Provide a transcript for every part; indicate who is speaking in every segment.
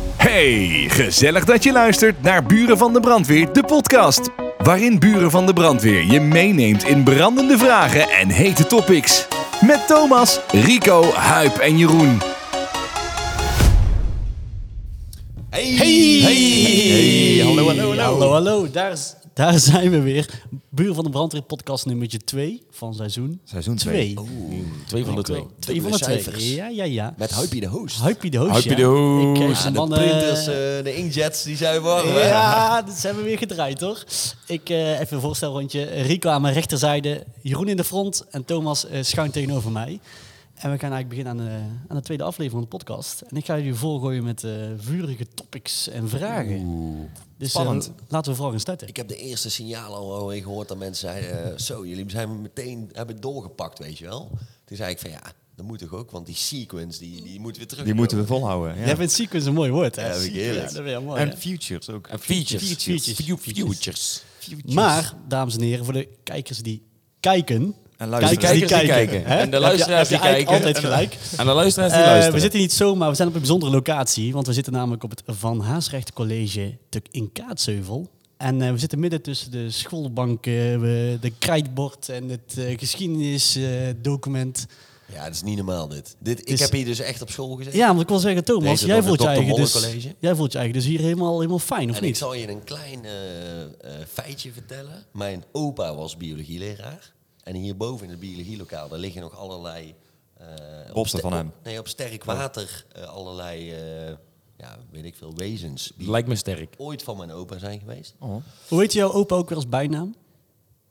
Speaker 1: Hey, gezellig dat je luistert naar Buren van de Brandweer, de podcast. Waarin Buren van de Brandweer je meeneemt in brandende vragen en hete topics. Met Thomas, Rico, Huip en Jeroen.
Speaker 2: Hey!
Speaker 3: hallo, hallo, hallo. Hallo, hallo. Daar, is- daar zijn we weer. Buren van de Brandweer, podcast nummertje 2 van seizoen.
Speaker 2: Seizoen
Speaker 3: twee.
Speaker 2: twee.
Speaker 4: Twee van de twee.
Speaker 3: Twee, van de
Speaker 2: Dubbele
Speaker 3: twee.
Speaker 2: cijfers.
Speaker 3: Ja, ja, ja.
Speaker 2: Met Huipie de host.
Speaker 3: Huipie de host.
Speaker 4: Huipie
Speaker 3: ja.
Speaker 4: de host.
Speaker 3: Ik kreeg
Speaker 4: Ja,
Speaker 3: ze
Speaker 2: Ja, de
Speaker 3: van, eh,
Speaker 2: printers, eh, de inkjets, die zijn warm. hè?
Speaker 3: ja, dat zijn we weer gedraaid, hoor. Ik, eh, even een voorstelrondje. Rico aan mijn rechterzijde, Jeroen in de front en Thomas eh, schuin tegenover mij. En we gaan eigenlijk beginnen aan de, aan de tweede aflevering van de podcast. En ik ga jullie voorgooien met eh, vurige topics en vragen. dus eh,
Speaker 2: spannend.
Speaker 3: laten we vooral gaan starten.
Speaker 2: Ik heb de eerste signalen al alweer gehoord dat mensen zeiden... eh, zo, jullie zijn meteen hebben doorgepakt, weet je wel. Toen zei ik van ja, dat moet toch ook? Want die sequence, die, die moeten we terug.
Speaker 5: Die moeten we volhouden. Ja.
Speaker 3: Jij vindt sequence een mooi woord, hè?
Speaker 2: Ja, vind ik
Speaker 3: Sequence,
Speaker 2: heerlijk.
Speaker 3: dat vind je wel mooi, hè?
Speaker 5: en futures ook.
Speaker 4: En features.
Speaker 3: Features.
Speaker 4: Few- Features.
Speaker 3: Maar, dames en heren, voor de kijkers die kijken...
Speaker 5: En luisteraars
Speaker 3: kijkers
Speaker 5: die kijken.
Speaker 3: hè?
Speaker 4: En de luisteraars
Speaker 3: Heb je-
Speaker 4: die
Speaker 3: heb je
Speaker 4: kijken.
Speaker 3: eigenlijk altijd gelijk.
Speaker 4: En de luisteraars die
Speaker 3: Eh,
Speaker 4: luisteren.
Speaker 3: we zitten niet zomaar, we zijn op een bijzondere locatie. Want we zitten namelijk op het Van Haasrecht College te- in Kaatsheuvel. En eh, we zitten midden tussen de schoolbanken, we- de krijtbord en het eh, geschiedenisdocument.
Speaker 2: Ja, dat is niet normaal dit. dit ik
Speaker 3: Dus-
Speaker 2: heb hier dus echt op school gezeten.
Speaker 3: ja, want ik wil zeggen, Thomas,
Speaker 2: Deze
Speaker 3: jij
Speaker 2: dan
Speaker 3: voelt, je
Speaker 2: de Dr.
Speaker 3: eigen
Speaker 2: Molle
Speaker 3: dus,
Speaker 2: College.
Speaker 3: jij voelt je eigen dus hier helemaal, helemaal fijn, of
Speaker 2: En ik
Speaker 3: niet?
Speaker 2: zal je een klein eh, eh, feitje vertellen. Mijn opa was biologieleraar. En hierboven in het biologielokaal, daar liggen nog allerlei... eh, op
Speaker 5: Bobsten
Speaker 2: ste-
Speaker 5: van hem.
Speaker 2: op- nee, op
Speaker 3: Oh.
Speaker 2: sterk water eh, allerlei, eh, ja, weet ik veel, wezens. Die
Speaker 4: Lijkt me sterk.
Speaker 2: ooit van mijn opa zijn geweest.
Speaker 3: Hoe heet jouw opa ook weer als bijnaam?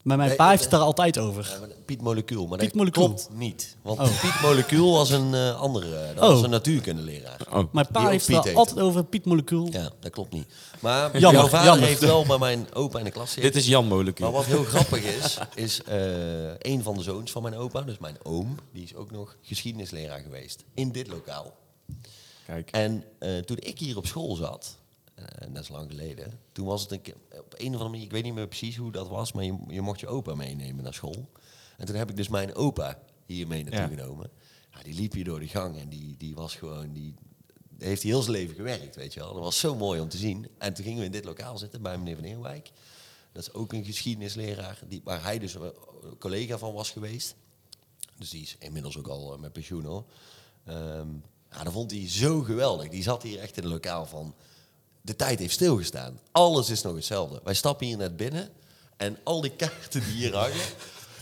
Speaker 3: Maar mijn
Speaker 2: Nee, eh,
Speaker 3: pa
Speaker 2: ik-
Speaker 3: heeft het daar altijd
Speaker 2: Ja,
Speaker 3: over.
Speaker 2: Eh, maar Piet Molecuul, maar
Speaker 3: Piet
Speaker 2: dat
Speaker 3: Molecuul.
Speaker 2: klopt niet. Want
Speaker 3: Oh.
Speaker 2: Piet Molecuul was een eh, andere, dat
Speaker 3: Oh.
Speaker 2: was een natuurkundeleraar.
Speaker 3: Mijn pa
Speaker 2: Die ook
Speaker 3: heeft
Speaker 2: Piet
Speaker 3: het daar
Speaker 2: heet.
Speaker 3: altijd over, Piet Molecuul.
Speaker 2: Ja, dat klopt niet. Maar
Speaker 3: Jammer,
Speaker 2: jouw vader
Speaker 3: jammer.
Speaker 2: heeft wel bij mijn opa in de klas gezeten.
Speaker 4: Dit is Jan
Speaker 2: Maar
Speaker 4: Molecuul.
Speaker 2: wat heel grappig is, is eh, een van de zoons van mijn opa, dus mijn oom, die is ook nog geschiedenisleraar geweest in dit lokaal.
Speaker 5: Kijk.
Speaker 2: En eh, toen ik hier op school zat, eh, en dat is lang geleden, toen was het een keer, eh, op een of andere manier, ik weet niet meer precies hoe dat was, maar je, je mocht je opa meenemen naar school. En toen heb ik dus mijn opa hier mee naartoe
Speaker 5: Ja.
Speaker 2: genomen. Ja, die liep hier door de gang en die, die was gewoon, die heeft heel zijn leven gewerkt, weet je wel. Dat was zo mooi om te zien. En toen gingen we in dit lokaal zitten bij meneer Van Eerwijk. Dat is ook een geschiedenisleraar, die, waar hij dus eh, collega van was geweest. Dus die is inmiddels ook al eh, met pensioen hoor. Ehm, ja, dat vond hij zo geweldig. Die zat hier echt in het lokaal van... De tijd heeft stilgestaan. Alles is nog hetzelfde. Wij stappen hier net binnen en al die kaarten die hier hangen...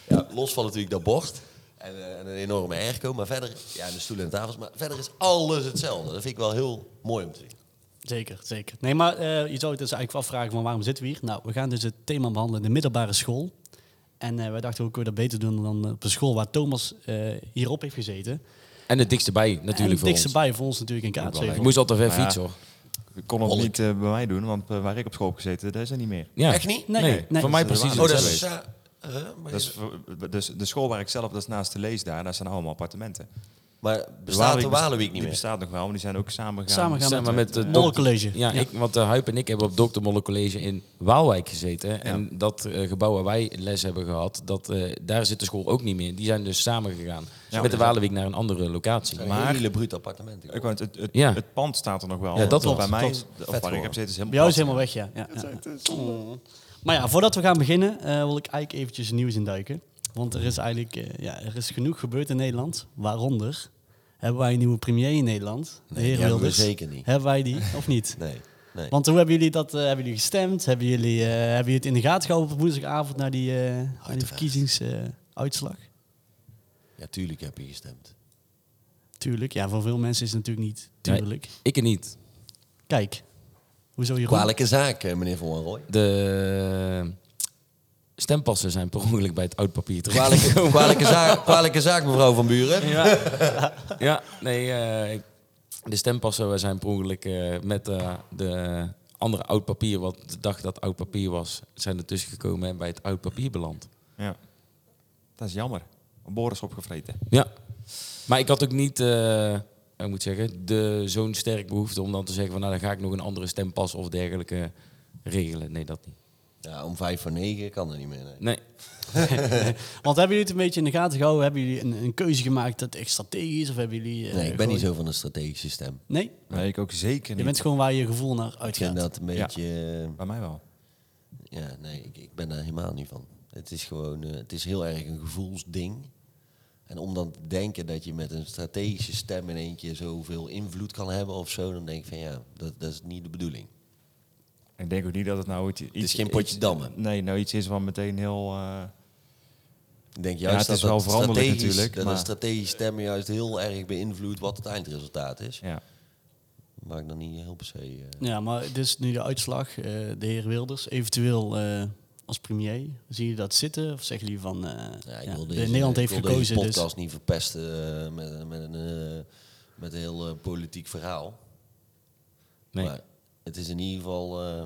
Speaker 2: ja, los van natuurlijk dat bord en, eh, en een enorme airco, maar verder... Ja, de stoelen en tafels, maar verder is alles hetzelfde. Dat vind ik wel heel mooi om te zien.
Speaker 3: Zeker, zeker. Nee, maar eh, je zou het dus eigenlijk afvragen van waarom zitten we hier? Nou, we gaan dus het thema behandelen, de middelbare school. En eh, wij dachten, hoe kunnen we dat beter doen dan op de school waar Thomas eh, hierop heeft gezeten?
Speaker 4: En het dikste bij
Speaker 3: en
Speaker 4: natuurlijk
Speaker 3: het
Speaker 4: voor
Speaker 3: dikste
Speaker 4: ons.
Speaker 3: bij voor ons natuurlijk in Kaatsheuvel.
Speaker 4: Ik moest al te ver
Speaker 5: Ja.
Speaker 4: fietsen hoor.
Speaker 5: Ik kon het
Speaker 2: Wolk.
Speaker 5: niet eh, bij mij doen, want eh, waar ik op school heb gezeten, daar is het niet meer.
Speaker 4: Ja.
Speaker 2: Echt niet?
Speaker 3: Nee, nee.
Speaker 4: Voor mij precies
Speaker 2: Oh, dat is...
Speaker 4: hetzelfde.
Speaker 2: sa- eh, maar,
Speaker 5: Dat is, voor- dus de school waar ik zelf, dat is naast de lees daar, daar zijn allemaal appartementen.
Speaker 2: maar bestaat de Walenweek niet
Speaker 5: Die
Speaker 2: meer?
Speaker 5: bestaat nog wel, maar die zijn ook samengegaan.
Speaker 3: Samen gaan met,
Speaker 4: Samen met
Speaker 3: het
Speaker 4: het
Speaker 3: Molle College.
Speaker 4: Ja, Ik, want de Huip en ik hebben op Dr. Molle College in Waalwijk gezeten. En dat eh, gebouw waar wij les hebben gehad, dat, eh, daar zit de school ook niet meer. Die zijn dus samengegaan
Speaker 5: Ja,
Speaker 4: met de
Speaker 5: dat-
Speaker 4: Walenweek naar een andere locatie.
Speaker 2: Maar... Een hele brute appartementen.
Speaker 5: Ik wou het, het, het,
Speaker 4: Ja.
Speaker 5: het pand staat er nog wel.
Speaker 4: Ja, dat
Speaker 5: want
Speaker 4: klopt,
Speaker 5: Bij mij,
Speaker 4: klopt.
Speaker 5: of
Speaker 2: Vet
Speaker 5: waar ik
Speaker 2: geworden.
Speaker 5: heb gezeten, is
Speaker 3: Bij jou
Speaker 5: helemaal
Speaker 3: is helemaal weg, ja. ja, ja. Oh. Maar ja, voordat we gaan beginnen, eh, wil ik eigenlijk eventjes het nieuws induiken. Want er is eigenlijk eh, ja, er is genoeg gebeurd in Nederland. Waaronder hebben wij een nieuwe premier in Nederland. De
Speaker 2: Nee,
Speaker 3: heer
Speaker 2: die hebben we
Speaker 3: Wilders.
Speaker 2: zeker niet.
Speaker 3: Hebben wij die, of niet?
Speaker 2: Nee, nee.
Speaker 3: Want hoe hebben jullie dat eh, hebben jullie gestemd? Hebben jullie, eh, hebben jullie het in de gaten gehouden op woensdagavond naar die, eh, naar die eh,
Speaker 2: Uiteraard.
Speaker 3: verkiezingsuitslag?
Speaker 2: Ja, tuurlijk heb je gestemd.
Speaker 3: tuurlijk, ja, voor veel mensen is het natuurlijk niet tuurlijk.
Speaker 4: Ik er niet.
Speaker 3: Kijk, hoezo
Speaker 5: Hm?
Speaker 3: Jeroen?
Speaker 2: Kwalijke zaak, eh, meneer Van Rooij.
Speaker 4: De stempassen zijn per ongeluk bij het oud papier terecht.
Speaker 2: Kwalijke, kwalijke, zaak, kwalijke zaak, mevrouw Van Buren.
Speaker 4: Ja, ja nee, eh, ik- de stempassen zijn per ongeluk eh, met eh, de andere oud papier, wat de dag dat oud papier was, zijn er tussen gekomen en bij het oud papier beland.
Speaker 5: Ja. Dat is jammer. Boris opgevreten.
Speaker 4: Ja, maar ik had ook niet, eh, ik moet zeggen, de, zo'n sterk behoefte om dan te zeggen van nou dan ga ik nog een andere stempas of dergelijke regelen. Nee, dat niet.
Speaker 2: Ja, om vijf voor negen kan dat niet meer. nee.
Speaker 4: Nee,
Speaker 3: Want hebben jullie het een beetje in de gaten gehouden? Hebben jullie een, een keuze gemaakt dat echt strategisch is? Of hebben jullie... eh,
Speaker 2: Nee, ik ben
Speaker 3: gewoon-
Speaker 2: niet zo van een strategische stem.
Speaker 3: Nee?
Speaker 5: Nee, ik ook zeker
Speaker 3: Je
Speaker 5: niet.
Speaker 3: bent gewoon waar je gevoel naar
Speaker 2: Ik vind
Speaker 3: uitgaat.
Speaker 2: dat een
Speaker 5: Ja.
Speaker 2: beetje... eh,
Speaker 5: Bij mij wel.
Speaker 2: Ja, nee, ik, ik ben daar helemaal niet van. Het is gewoon, eh, het is heel erg een gevoelsding. En om dan te denken dat je met een strategische stem in één keer zoveel invloed kan hebben of zo, dan denk ik van ja, dat, dat is niet de bedoeling.
Speaker 5: Ik denk ook niet dat het nou iets...
Speaker 2: is geen potje
Speaker 5: iets-
Speaker 2: dammen.
Speaker 5: Nee, nou iets is van meteen heel... eh,
Speaker 2: Ik denk
Speaker 5: Ja,
Speaker 2: juist
Speaker 5: het
Speaker 2: dat
Speaker 5: is wel
Speaker 2: dat
Speaker 5: veranderlijk
Speaker 2: strategisch-
Speaker 5: natuurlijk,
Speaker 2: Dat
Speaker 5: maar-
Speaker 2: een strategische stem juist heel erg beïnvloedt wat het eindresultaat is.
Speaker 5: ja.
Speaker 2: Waar ik dan niet heel per se. eh,
Speaker 3: Ja, maar dit is nu de uitslag. eh, de heer Wilders, eventueel eh, als premier. Zie je dat zitten? Of zeggen jullie van... eh,
Speaker 2: ja, ik
Speaker 3: ja,
Speaker 2: wil
Speaker 3: de-
Speaker 2: deze,
Speaker 3: Nederland heeft
Speaker 2: ik wil deze
Speaker 3: gekozen, dus...
Speaker 2: podcast niet verpesten eh, met, met, een, eh, met een heel eh, politiek verhaal.
Speaker 4: nee.
Speaker 2: Maar het is in ieder geval. eh,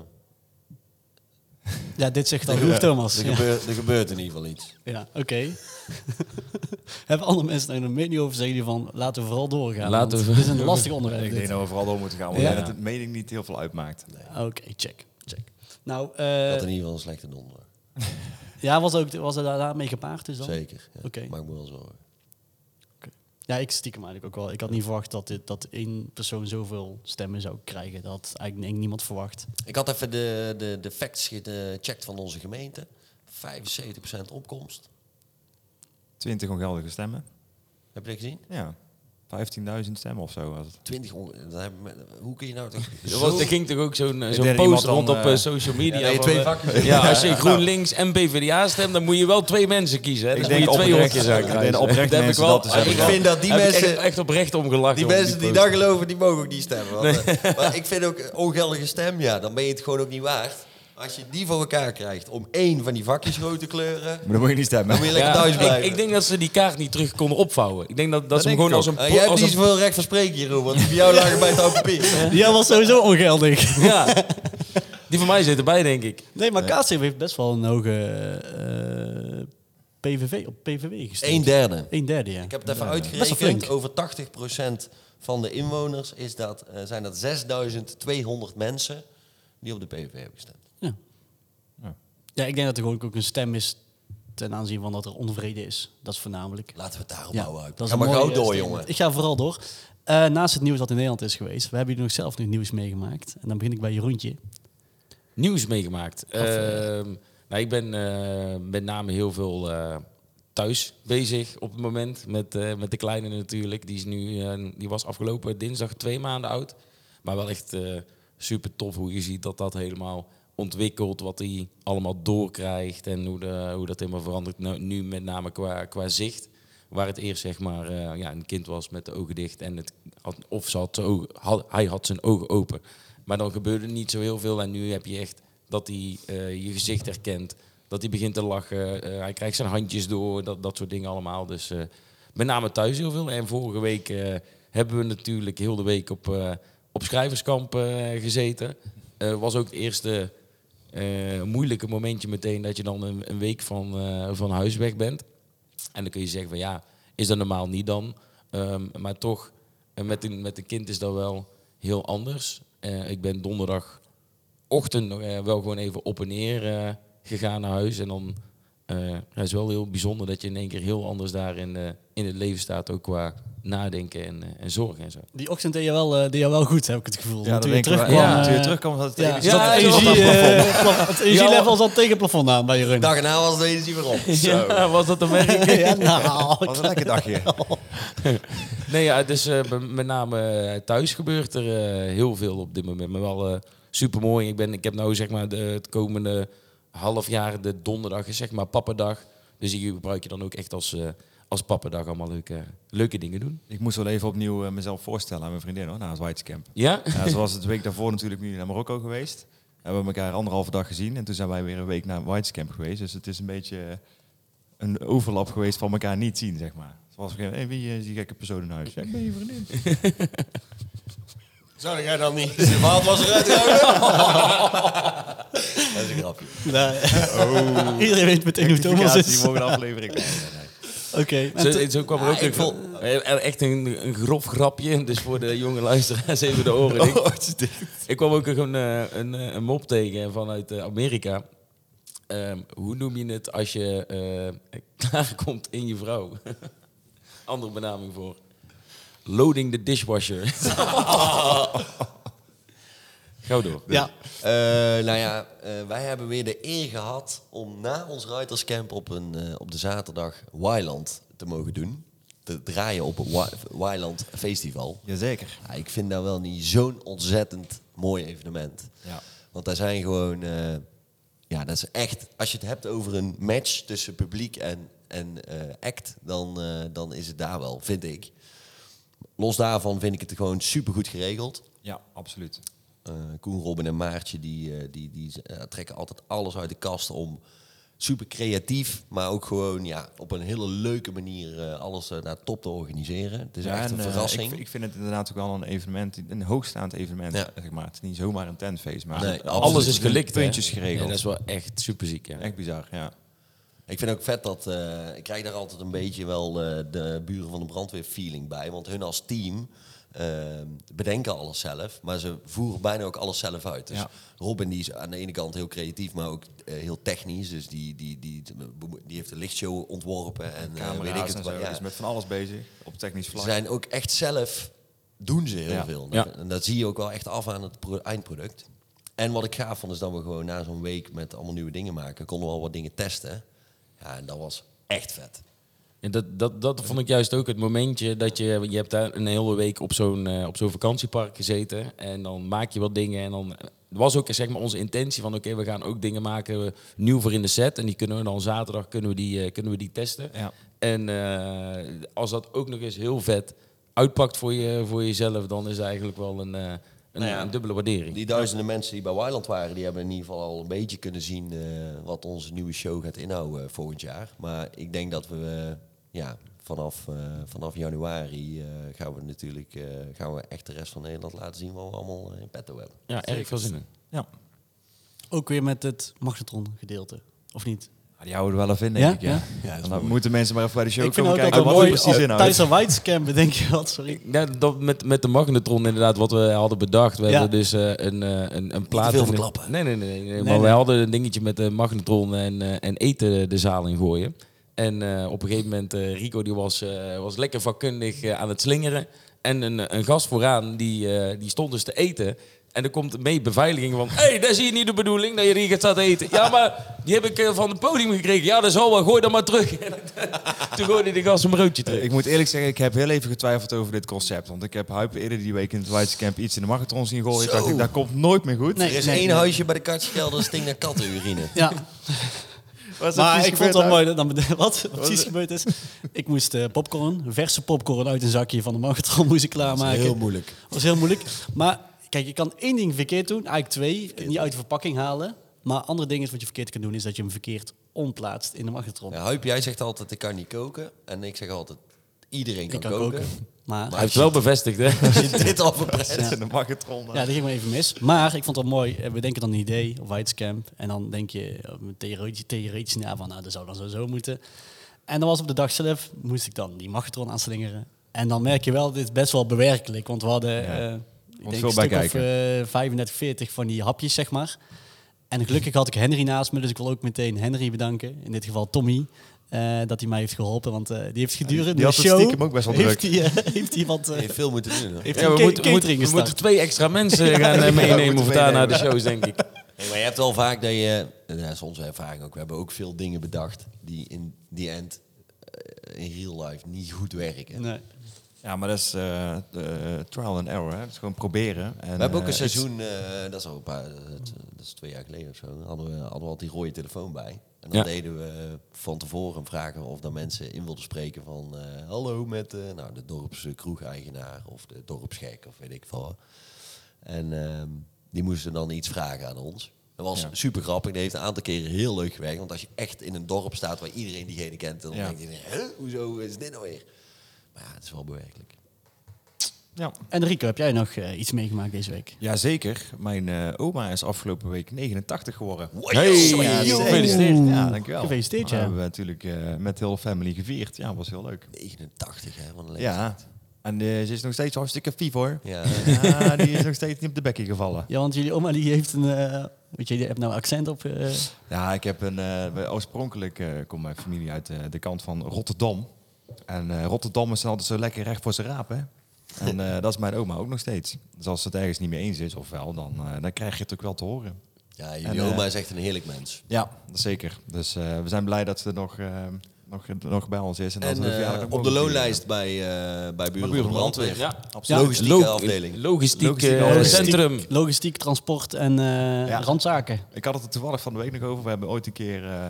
Speaker 3: Ja, dit zegt al genoeg, Thomas.
Speaker 2: Er,
Speaker 3: Ja,
Speaker 2: gebeurt, er gebeurt in ieder geval iets.
Speaker 3: Ja, oké. hebben andere mensen daar een mening over? Zeggen jullie van, laten we vooral doorgaan?
Speaker 4: Laten
Speaker 3: want
Speaker 4: we-
Speaker 3: Dit is een lastig onderwerp.
Speaker 5: Ik denk
Speaker 3: dit.
Speaker 5: dat we vooral door moeten gaan, want
Speaker 3: Ja.
Speaker 5: ik denk dat de mening niet heel veel uitmaakt.
Speaker 3: Oké, check. check. Nou,
Speaker 2: Dat
Speaker 3: eh,
Speaker 2: in ieder geval een slechte donder.
Speaker 3: ja, was, ook, was er daar- daarmee gepaard dus dan?
Speaker 2: Zeker. Ja.
Speaker 3: Oké.
Speaker 2: Maak me wel zorgen.
Speaker 3: Ja, ik stiekem eigenlijk ook wel. Ik had niet verwacht dat, dit, dat één persoon zoveel stemmen zou krijgen. Dat had eigenlijk denk ik niemand verwacht.
Speaker 2: Ik had even de, de, de facts gecheckt van onze gemeente. 75% opkomst.
Speaker 5: 20 ongeldige stemmen.
Speaker 2: Heb je dat gezien?
Speaker 5: Ja. 15.000 stemmen of zo was het.
Speaker 2: 20 on- dan heb ik me- Hoe kun je nou toch...
Speaker 4: Er,
Speaker 2: zo-
Speaker 4: was, er ging toch ook zo'n eh, zo'n
Speaker 5: deed
Speaker 4: post
Speaker 5: iemand dan,
Speaker 4: rond op eh,
Speaker 5: eh,
Speaker 4: social media.
Speaker 2: ja, dat je
Speaker 4: van,
Speaker 2: twee
Speaker 4: eh,
Speaker 2: vakjes hebt.
Speaker 4: ja, als je GroenLinks en PvdA stemt, dan moet je wel twee mensen kiezen. Hè? Dan moet je twee hokjes
Speaker 5: ik denk
Speaker 4: uitkrijgen.
Speaker 5: oprecht
Speaker 4: Daar heb ik
Speaker 5: mensen
Speaker 4: wel-
Speaker 5: dat dus
Speaker 4: heb
Speaker 5: hebben.
Speaker 2: Ik vind dat die
Speaker 4: heb ik
Speaker 2: mensen-
Speaker 4: echt, echt oprecht om gelachen.
Speaker 2: Die
Speaker 4: om
Speaker 2: mensen die
Speaker 4: post.
Speaker 2: daar geloven, die mogen ook niet stemmen. Want, eh, maar ik vind ook een ongeldige stem, ja, dan ben je het gewoon ook niet waard. Als je die voor elkaar krijgt om één van die vakjes rood te kleuren,
Speaker 5: Maar dan moet je niet stemmen.
Speaker 2: dan moet je lekker
Speaker 4: Ja,
Speaker 2: thuis blijven.
Speaker 4: ik, ik denk dat ze die kaart niet terug konden opvouwen. Ik denk dat, dat, ze hem
Speaker 5: denk
Speaker 4: gewoon als
Speaker 5: ik
Speaker 4: een...
Speaker 2: Eh,
Speaker 4: po-
Speaker 2: jij hebt
Speaker 4: als
Speaker 2: niet
Speaker 4: een
Speaker 2: zoveel recht van spreken, Jeroen, want bij jou lagen bij het oude papier.
Speaker 3: Ja, was sowieso ongeldig.
Speaker 4: ja. Die van mij zit erbij, denk ik.
Speaker 3: Nee, maar Kaatsheuvel heeft best wel een hoge eh, PVV op PVV gestemd.
Speaker 2: Een derde.
Speaker 3: Een derde, ja.
Speaker 2: Ik heb het even
Speaker 3: Best wel
Speaker 2: uitgerekend.
Speaker 3: flink.
Speaker 2: Over 80% van de inwoners is dat, eh, zijn dat 6200 mensen die op de PVV hebben gestemd.
Speaker 3: Ja.
Speaker 5: Ja.
Speaker 3: ja, ik denk dat er gewoon ook een stem is ten aanzien van dat er onvrede is. Dat is voornamelijk.
Speaker 2: Laten we het daarop
Speaker 3: Ja,
Speaker 2: houden. Uit.
Speaker 3: dat is
Speaker 2: Nou, eh, Ga maar
Speaker 3: een mooie
Speaker 2: gauw door,
Speaker 3: statement.
Speaker 2: jongen.
Speaker 3: Ik ga vooral door. Eh, naast het nieuws dat in Nederland is geweest, we hebben hier nog zelf nu nieuws meegemaakt. En dan begin ik bij Jeroentje.
Speaker 4: nieuws meegemaakt. Ehm, nou, ik ben eh, met name heel veel eh, thuis bezig op het moment. Met, eh, met de kleine natuurlijk. Die, is nu, eh, die was afgelopen dinsdag twee maanden oud. Maar wel echt eh, super tof hoe je ziet dat dat helemaal ontwikkelt. Wat hij allemaal doorkrijgt en hoe, de, hoe dat helemaal verandert. Nou, nu met name qua, qua zicht. Waar het eerst zeg maar eh, ja, een kind was met de ogen dicht. En het had, of ze had zijn ogen, had- hij had zijn ogen open. Maar dan gebeurde niet zo heel veel. En nu heb je echt dat hij eh, je gezicht herkent. Dat hij begint te lachen. eh, hij krijgt zijn handjes door. Dat, dat soort dingen allemaal. Dus eh, met name thuis heel veel. En vorige week eh, hebben we natuurlijk heel de week op, eh, op schrijverskamp eh, gezeten. Eh, was ook het eerste eh, moeilijke momentje meteen dat je dan een, een week van, eh, van huis weg bent. En dan kun je zeggen van ja, is dat normaal niet dan? Ehm, maar toch, eh, met een, met een kind is dat wel heel anders. Eh, ik ben donderdagochtend nog, eh, wel gewoon even op en neer eh, gegaan naar huis. En dan eh, ja, het is wel heel bijzonder dat je in één keer heel anders daar in, eh, in het leven staat. Ook qua nadenken en, eh, en zorgen en zo.
Speaker 3: Die ochtend deed je wel, eh, deed je wel goed, heb ik het gevoel.
Speaker 5: Ja,
Speaker 3: Want
Speaker 5: dat
Speaker 3: toen je
Speaker 5: denk ik wel.
Speaker 3: terugkwam...
Speaker 5: Ja,
Speaker 3: eh,
Speaker 5: toen je terugkwam zat het
Speaker 3: ja,
Speaker 5: even-
Speaker 3: zat
Speaker 4: Ja,
Speaker 3: het
Speaker 4: ja,
Speaker 3: energie,
Speaker 4: ja.
Speaker 3: eh, plaf- het energielevel zat tegen het plafond aan bij Jeroen.
Speaker 2: Dag en na was de energie weer op.
Speaker 4: Ja, was dat een merk?
Speaker 3: ja, nou,
Speaker 5: was een lekker dagje.
Speaker 4: Nee, ja, dus eh, b- met name eh, thuis gebeurt er eh, heel veel op dit moment. Maar wel super mooi. Ik, ben, ik heb nou zeg maar de, het komende half jaar de donderdag is zeg maar pappendag. Dus die gebruik je dan ook echt als, eh als pappendag allemaal leuke, leuke dingen doen.
Speaker 5: Ik moest wel even opnieuw eh, mezelf voorstellen aan mijn vriendin hoor, na het Whitescamp.
Speaker 4: Ja?
Speaker 5: Ja, ze was het week daarvoor natuurlijk nu naar Marokko geweest. Hebben we elkaar anderhalve dag gezien en toen zijn wij weer een week naar Whitescamp geweest. Dus het is een beetje eh, een overlap geweest van elkaar niet zien, zeg maar. Ze was geen, hey, wie eh, is die gekke persoon in huis? Ja, ik ben je vriendin.
Speaker 2: Zou jij dan niet? De maat was eruit gehouden. Dat is een grapje.
Speaker 3: nou, Iedereen weet meteen hoe Thomas
Speaker 5: Oh. Rectificatie,
Speaker 3: is. Oké.
Speaker 5: mogen de aflevering. Nee, nee, nee.
Speaker 3: en
Speaker 4: Zo,
Speaker 3: toen-
Speaker 4: zo kwam er ook een, er- eh, echt een, een grof grapje. Dus voor de jonge luisteraars even de oren. dicht. Ik kwam ook een, eh, een, eh, een mop tegen vanuit eh, Amerika. ehm, hoe noem je het als je eh klaarkomt in je vrouw? Andere benaming voor. Loading the dishwasher. Gauw door.
Speaker 3: Ja,
Speaker 2: Eh, nou ja, eh, wij hebben weer de eer gehad om na ons Ruiterscamp op, een, eh, op de zaterdag Wyland te mogen doen. Te draaien op het Wy- Wyland Festival.
Speaker 5: Jazeker.
Speaker 2: Ja, ik vind dat wel niet zo'n ontzettend mooi evenement.
Speaker 5: Ja.
Speaker 2: Want daar zijn gewoon... eh, ja, dat is echt... Als je het hebt over een match tussen publiek en, en eh, act... Dan, eh, dan is het daar wel, vind ik. Los daarvan vind ik het gewoon supergoed geregeld.
Speaker 5: Ja, absoluut.
Speaker 2: Eh, Koen, Robin en Maartje die, eh, die, die eh, trekken altijd alles uit de kast om super creatief, maar ook gewoon ja, op een hele leuke manier eh, alles eh, naar top te organiseren. Het is
Speaker 5: Ja,
Speaker 2: echt een
Speaker 5: en, eh,
Speaker 2: verrassing.
Speaker 5: ik, ik vind het inderdaad ook wel een evenement, een hoogstaand evenement,
Speaker 2: Ja.
Speaker 5: zeg maar. Het is niet zomaar een tentfeest, maar
Speaker 2: Nee,
Speaker 4: Alles
Speaker 2: absoluut.
Speaker 4: is gelikt. hè?
Speaker 5: Puntjes geregeld.
Speaker 4: Ja, dat is wel echt superziek. Ja.
Speaker 5: Echt bizar, ja.
Speaker 2: Ik vind ook vet dat eh, ik krijg daar altijd een beetje wel eh, de buren van de brandweer feeling bij. Want hun als team eh, bedenken alles zelf, maar ze voeren bijna ook alles zelf uit. Dus
Speaker 5: Ja.
Speaker 2: Robin die is aan de ene kant heel creatief, maar ook eh, heel technisch. Dus die, die, die, die heeft de lichtshow ontworpen en eh,
Speaker 5: Camera's
Speaker 2: weet ik
Speaker 5: en
Speaker 2: het
Speaker 5: zo,
Speaker 2: wel. Ja.
Speaker 5: dus met van alles bezig, op technisch vlak.
Speaker 2: Ze zijn ook echt zelf, doen ze heel
Speaker 5: Ja.
Speaker 2: veel.
Speaker 4: Ja.
Speaker 2: En dat zie je ook wel echt af aan het pro- eindproduct. En wat ik gaaf vond, is dat we gewoon na zo'n week met allemaal nieuwe dingen maken, konden we al wat dingen testen. Ja, en dat was echt vet.
Speaker 4: Ja, dat, dat, dat vond ik juist ook het momentje dat je, je hebt daar een hele week op zo'n eh, op zo'n vakantiepark gezeten. En dan maak je wat dingen. En dan eh, was ook zeg maar onze intentie van oké, we gaan ook dingen maken eh, nieuw voor in de set. En die kunnen we dan zaterdag kunnen we die, eh, kunnen we die testen.
Speaker 5: Ja.
Speaker 4: En eh, als dat ook nog eens heel vet uitpakt voor, je, voor jezelf, dan is het eigenlijk wel een, eh, een,
Speaker 2: Nou ja.
Speaker 4: een dubbele waardering.
Speaker 2: Die duizenden mensen die bij Wyland waren, die hebben in ieder geval al een beetje kunnen zien eh, wat onze nieuwe show gaat inhouden eh, volgend jaar. Maar ik denk dat we eh, ja, vanaf, eh, vanaf januari eh, gaan we natuurlijk eh, gaan we echt de rest van Nederland laten zien wat we allemaal eh, in petto hebben.
Speaker 4: Ja, erg veel zin in.
Speaker 5: Ja.
Speaker 3: ook weer met het magnetron gedeelte, of niet?
Speaker 5: Ja, die houden we wel even in, denk
Speaker 3: Ja?
Speaker 5: ik. Ja.
Speaker 3: Ja?
Speaker 5: En dan moeten mensen maar even bij de show
Speaker 3: ik vind
Speaker 5: komen
Speaker 3: ook
Speaker 5: kijken
Speaker 3: altijd
Speaker 5: wat
Speaker 3: mooi oh,
Speaker 5: er precies
Speaker 3: als-
Speaker 5: inhoudt.
Speaker 3: tijdens een widescan bedenk je wat, sorry.
Speaker 4: Ja, dat met, met de magnetron inderdaad, wat we hadden bedacht. We
Speaker 3: Ja.
Speaker 4: hadden dus eh, een, eh, een, een
Speaker 2: te
Speaker 4: plaat...
Speaker 2: veel
Speaker 4: in de-
Speaker 2: verklappen.
Speaker 4: Nee, nee, nee. nee, maar
Speaker 3: nee.
Speaker 4: we hadden een dingetje met de magnetron en, eh, en eten de zaal in gooien. En eh, op een gegeven moment, eh, Rico die was, eh, was lekker vakkundig eh, aan het slingeren. En een, een gast vooraan, die, eh, die stond dus te eten. En er komt mee beveiliging van... Hé, hey, dat is hier niet de bedoeling, dat je hier gaat staan te eten. Ja, maar die heb ik eh, van het podium gekregen. Ja, dat is al wel. Gooi dat maar terug. En Toen gooide die gast een broodje terug.
Speaker 5: Ik moet eerlijk zeggen, ik heb heel even getwijfeld over dit concept. Want ik heb Huip eerder die week in het Whites Camp iets in de marathon zien gooien. Ik
Speaker 2: Zo.
Speaker 5: dacht, ik, dat komt nooit meer goed.
Speaker 3: Nee.
Speaker 2: Er is één huisje bij de katjeskelder, dat stinkt naar kattenurine.
Speaker 3: Ja,
Speaker 5: Wat is er
Speaker 3: maar
Speaker 5: precies
Speaker 3: ik vond het
Speaker 5: gebeurd,
Speaker 3: wel mooi dat
Speaker 5: Huip?
Speaker 3: dan bede- wat er precies gebeurd is. Ik moest eh, popcorn, verse popcorn uit een zakje van de magnetron moest ik klaarmaken.
Speaker 2: heel moeilijk.
Speaker 3: was heel moeilijk. Maar kijk, je kan één ding verkeerd doen, eigenlijk twee, niet uit de verpakking halen. Maar andere ding is wat je verkeerd kan doen, is dat je hem verkeerd omplaatst in de magnetron.
Speaker 2: Ja, Huip, jij zegt altijd ik kan niet koken. En ik zeg altijd iedereen kan,
Speaker 3: ik kan
Speaker 2: koken.
Speaker 3: koken, maar...
Speaker 4: Hij heeft wel bevestigd, hè?
Speaker 2: Als je dit al verbreidt.
Speaker 5: In de marathon.
Speaker 3: Ja, dat ging maar even mis. Maar ik vond het wel mooi. Eh, We denken dan een idee, of Whitescamp. En dan denk je eh, theoretisch, theoretisch na van, nou, dat zou dan zo, zo moeten. En dan was op de dag zelf, moest ik dan die magnetron aanslingeren. En dan merk je wel, dit is best wel bewerkelijk. Want we hadden, eh, ik denk
Speaker 5: veel
Speaker 3: een
Speaker 5: bij
Speaker 3: stuk of eh 35, 40 van die hapjes, zeg maar. En gelukkig had ik Henry naast me, dus ik wil ook meteen Henry bedanken. In dit geval Tommy, eh, dat hij mij heeft geholpen. Want eh, die heeft gedurende
Speaker 5: die had
Speaker 3: de
Speaker 5: het
Speaker 3: show...
Speaker 5: stiekem ook best wel
Speaker 3: heeft
Speaker 5: druk.
Speaker 3: hij, eh, heeft hij wat... eh,
Speaker 2: Je hebt veel moeten doen. hè?
Speaker 3: heeft
Speaker 4: Ja,
Speaker 3: hij
Speaker 4: we,
Speaker 3: een
Speaker 4: moeten,
Speaker 3: catering
Speaker 4: we, moeten, we
Speaker 3: gestart.
Speaker 4: moeten twee extra mensen gaan eh, meenemen
Speaker 5: moeten
Speaker 4: of daar naar de
Speaker 5: meenemen.
Speaker 4: shows, denk ik.
Speaker 2: Hey, maar je hebt wel vaak dat je... en Dat is onze ervaring ook. We hebben ook veel dingen bedacht die in die end eh, in real life niet goed werken.
Speaker 3: Nee.
Speaker 5: Ja, maar dat is eh, eh, trial and error. Hè. Dat is gewoon proberen. En,
Speaker 2: We hebben ook een
Speaker 5: eh, iets-
Speaker 2: seizoen, eh, dat, is al een paar, dat, dat is twee jaar geleden of zo, hadden we, hadden we al die rode telefoon bij. En dan
Speaker 4: Ja.
Speaker 2: deden we van tevoren vragen of dan mensen in wilden spreken van eh, hallo met eh, nou, de dorpskroegeigenaar of de dorpsgek of weet ik veel. wat. En ehm, die moesten dan iets vragen aan ons. Dat was
Speaker 5: Ja.
Speaker 2: super grappig. Dat heeft een aantal keren heel leuk gewerkt. Want als je echt in een dorp staat waar iedereen diegene kent, dan
Speaker 5: Ja.
Speaker 2: denk je, hè, hoezo is dit nou weer? Maar ja, het is wel bewerkelijk.
Speaker 5: Ja.
Speaker 3: En Rico, heb jij nog eh, iets meegemaakt deze week?
Speaker 5: Jazeker. Mijn eh, oma is afgelopen week 89 geworden.
Speaker 2: Hey,
Speaker 5: Ja,
Speaker 2: joh.
Speaker 5: gefeliciteerd. Ja, dankjewel.
Speaker 3: Gefeliciteerd,
Speaker 5: We
Speaker 3: ja.
Speaker 5: hebben natuurlijk eh, met heel de family gevierd. Ja, was heel leuk.
Speaker 2: 89 hè, van de
Speaker 5: Ja. En eh, ze is nog steeds hartstikke fief hoor.
Speaker 2: Ja.
Speaker 5: Ja, die is nog steeds niet op de bekkie gevallen.
Speaker 3: Ja, want jullie oma die heeft een eh, Want je hebt nou accent op. eh,
Speaker 5: Ja, ik heb een. eh, we- oorspronkelijk eh, komt mijn familie uit eh, de kant van Rotterdam. En eh Rotterdammers zijn altijd zo lekker recht voor zijn raap, hè? En eh, dat is mijn oma ook nog steeds. Dus als ze het ergens niet mee eens is, of wel, dan, eh, dan krijg je het ook wel te horen.
Speaker 2: Ja, jullie
Speaker 5: En, eh,
Speaker 2: oma is echt een heerlijk mens.
Speaker 5: Ja, zeker. Dus eh, we zijn blij dat ze nog, eh, nog, nog bij ons is. En, dat
Speaker 2: En
Speaker 5: we
Speaker 2: eh,
Speaker 5: verjaardag ook
Speaker 2: op de
Speaker 5: mogen
Speaker 2: loonlijst bij, eh bij Buren
Speaker 5: Buren
Speaker 2: van de Brandweer.
Speaker 4: Ja.
Speaker 2: Absoluut. Logistieke
Speaker 4: Log-
Speaker 2: afdeling.
Speaker 4: Logistiek,
Speaker 5: Logistieke
Speaker 4: eh,
Speaker 5: afdeling.
Speaker 4: centrum.
Speaker 3: Logistiek, transport en eh,
Speaker 5: Ja.
Speaker 3: randzaken.
Speaker 5: Ik had het er toevallig van de week nog over. We hebben ooit een keer eh,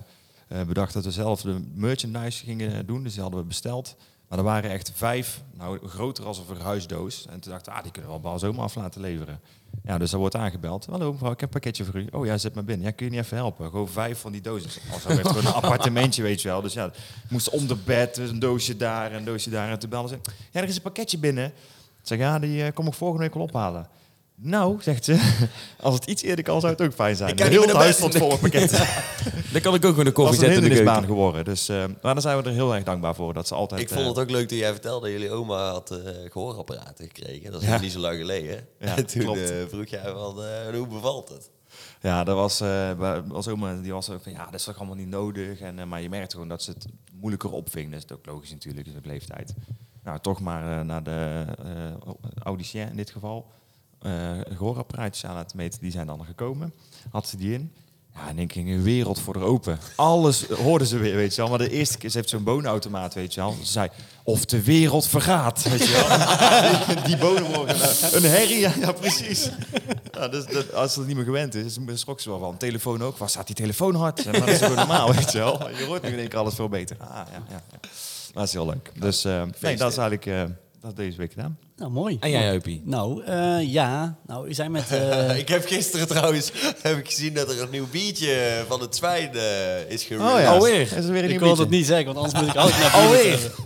Speaker 5: eh, bedacht dat we zelf de merchandise gingen doen. Dus die hadden we besteld. Maar er waren echt vijf, nou groter als een verhuisdoos. En toen dachten we, ah, die kunnen we wel zomaar af laten leveren. Ja, dus er wordt aangebeld. Hallo mevrouw, ik heb een pakketje voor u. Oh ja, zet maar binnen. Ja, kun je niet even helpen? Gewoon vijf van die dozen. Oh, Als hij heeft gewoon een appartementje, weet je wel. Dus ja, moest onder bed, dus een doosje daar, een doosje daar. En toen belden ze, ja, er is een pakketje binnen. Ik zeg, ja, die eh, kom ik volgende week wel ophalen. Nou, zegt ze, als het iets eerder kan, zou het ook fijn zijn.
Speaker 2: Ik kan
Speaker 5: Heel
Speaker 2: niet
Speaker 5: het
Speaker 2: meer naar
Speaker 5: huis
Speaker 2: bed.
Speaker 5: stond vol met pakketten. Het
Speaker 4: Dan kan ik ook weer een koffie
Speaker 5: was een
Speaker 4: zetten in de
Speaker 5: hindernisbaan
Speaker 4: keuken.
Speaker 5: geworden. Dus, eh, maar daar zijn we er heel erg dankbaar voor. Dat ze altijd...
Speaker 2: Ik vond
Speaker 5: eh,
Speaker 2: het ook leuk dat jij vertelde dat jullie oma had eh, gehoorapparaten gekregen. Dat is
Speaker 5: Ja.
Speaker 2: nog niet zo lang geleden.
Speaker 5: Ja,
Speaker 2: en toen
Speaker 5: klopt.
Speaker 2: eh, vroeg jij van, eh, hoe bevalt het?
Speaker 5: Ja, dat was, eh bij- als oma, die was ook van, ja, dat is toch allemaal niet nodig. En, eh, maar je merkt gewoon dat ze het moeilijker opving. Dat is ook logisch natuurlijk, in de leeftijd. Nou, toch maar eh, naar de eh audicien in dit geval. eh gehoorapparaatjes aan laten meten, die zijn dan gekomen. Had ze die in. Ja, en ik ging een wereld voor haar open. Alles eh, hoorden ze weer, weet je wel. Maar de eerste keer, ze heeft zo'n bonenautomaat, weet je wel. Ze zei, of de wereld vergaat, weet je wel. die bonen worden eh, een herrie, ja, ja, precies. Ja, dus dat, als ze het niet meer gewend is, schrok ze wel van. Telefoon ook, waar staat die telefoon hard? Ja, maar dat is gewoon normaal, weet je wel. Je hoort nu in één keer alles veel beter. Ah, ja, ja, ja. Maar dat is heel leuk. Dus eh, nee, dat is eigenlijk eh, dat is deze week gedaan.
Speaker 3: Nou, mooi.
Speaker 4: En jij, Heupie?
Speaker 3: Nou, eh, ja. Nou, we zijn met... eh,
Speaker 2: ik heb gisteren trouwens heb ik gezien dat er een nieuw biertje van het zwijn eh, is gereleased.
Speaker 5: Oh ja,
Speaker 4: Alweer.
Speaker 5: Is er weer
Speaker 3: ik
Speaker 5: een
Speaker 3: wil
Speaker 5: nieuw biertje?
Speaker 3: dat niet zeggen, want anders moet ik altijd naar bier
Speaker 4: Alweer.
Speaker 3: terug.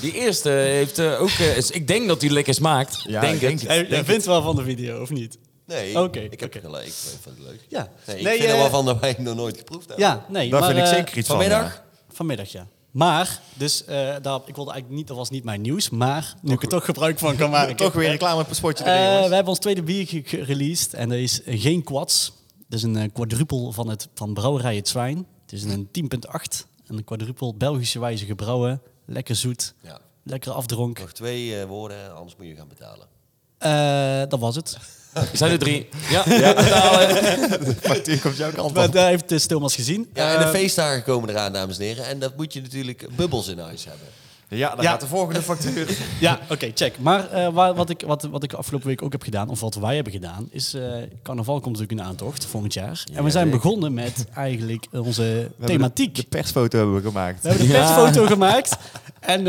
Speaker 4: Die eerste heeft eh, ook... eh, is- ik denk dat die lekker smaakt.
Speaker 5: Ja,
Speaker 4: denk het.
Speaker 5: ik denk het.
Speaker 3: Jij- Jij vindt wel van de video, of niet?
Speaker 2: Nee,
Speaker 3: Oké,
Speaker 2: ik heb
Speaker 3: oké.
Speaker 2: gelijk. Ik vind het leuk.
Speaker 3: Ja.
Speaker 2: Nee, ik
Speaker 3: Nee,
Speaker 2: vind er
Speaker 3: eh,
Speaker 2: wel van dat wij het nog nooit geproefd hebben.
Speaker 3: Ja, nee.
Speaker 5: Daar
Speaker 3: maar,
Speaker 5: vind ik
Speaker 3: eh,
Speaker 5: zeker iets van.
Speaker 2: vanmiddag?
Speaker 5: ja.
Speaker 3: Vanmiddag, ja. Maar, dus, eh, daar, ik wilde eigenlijk niet, dat was niet mijn nieuws, maar nu ik er toch gebruik van kan maken.
Speaker 5: Toch weer reclame op een spotje
Speaker 3: Eh,
Speaker 5: erin, jongens.
Speaker 3: we hebben ons tweede bier ge- gereleased en dat is geen quads. Dat is een eh, quadrupel van, het, van brouwerij Het Zwijn. Het is een 10.8, een quadrupel Belgische wijze gebrouwen. Lekker zoet,
Speaker 2: Ja.
Speaker 3: lekker afdronk.
Speaker 2: Nog twee eh, woorden, anders moet je gaan betalen.
Speaker 3: Eh, dat was het.
Speaker 4: Zijn er drie? Ja, betalen.
Speaker 5: Factuur komt jouw kant
Speaker 3: Maar
Speaker 5: op.
Speaker 3: daar heeft dus Thomas gezien.
Speaker 2: Ja, en
Speaker 3: Eh,
Speaker 2: de feestdagen komen eraan, dames en heren. En dat moet je natuurlijk bubbels in huis hebben.
Speaker 5: Ja, dan
Speaker 3: Ja.
Speaker 5: gaat de volgende factuur.
Speaker 3: Ja, oké, check. Maar eh, wa- wat, ik, wat, wat ik afgelopen week ook heb gedaan, of wat wij hebben gedaan, is eh, carnaval komt natuurlijk in aantocht volgend jaar. En we zijn begonnen met eigenlijk onze thematiek.
Speaker 5: De persfoto hebben we gemaakt.
Speaker 3: We hebben de
Speaker 4: Ja.
Speaker 3: persfoto gemaakt. En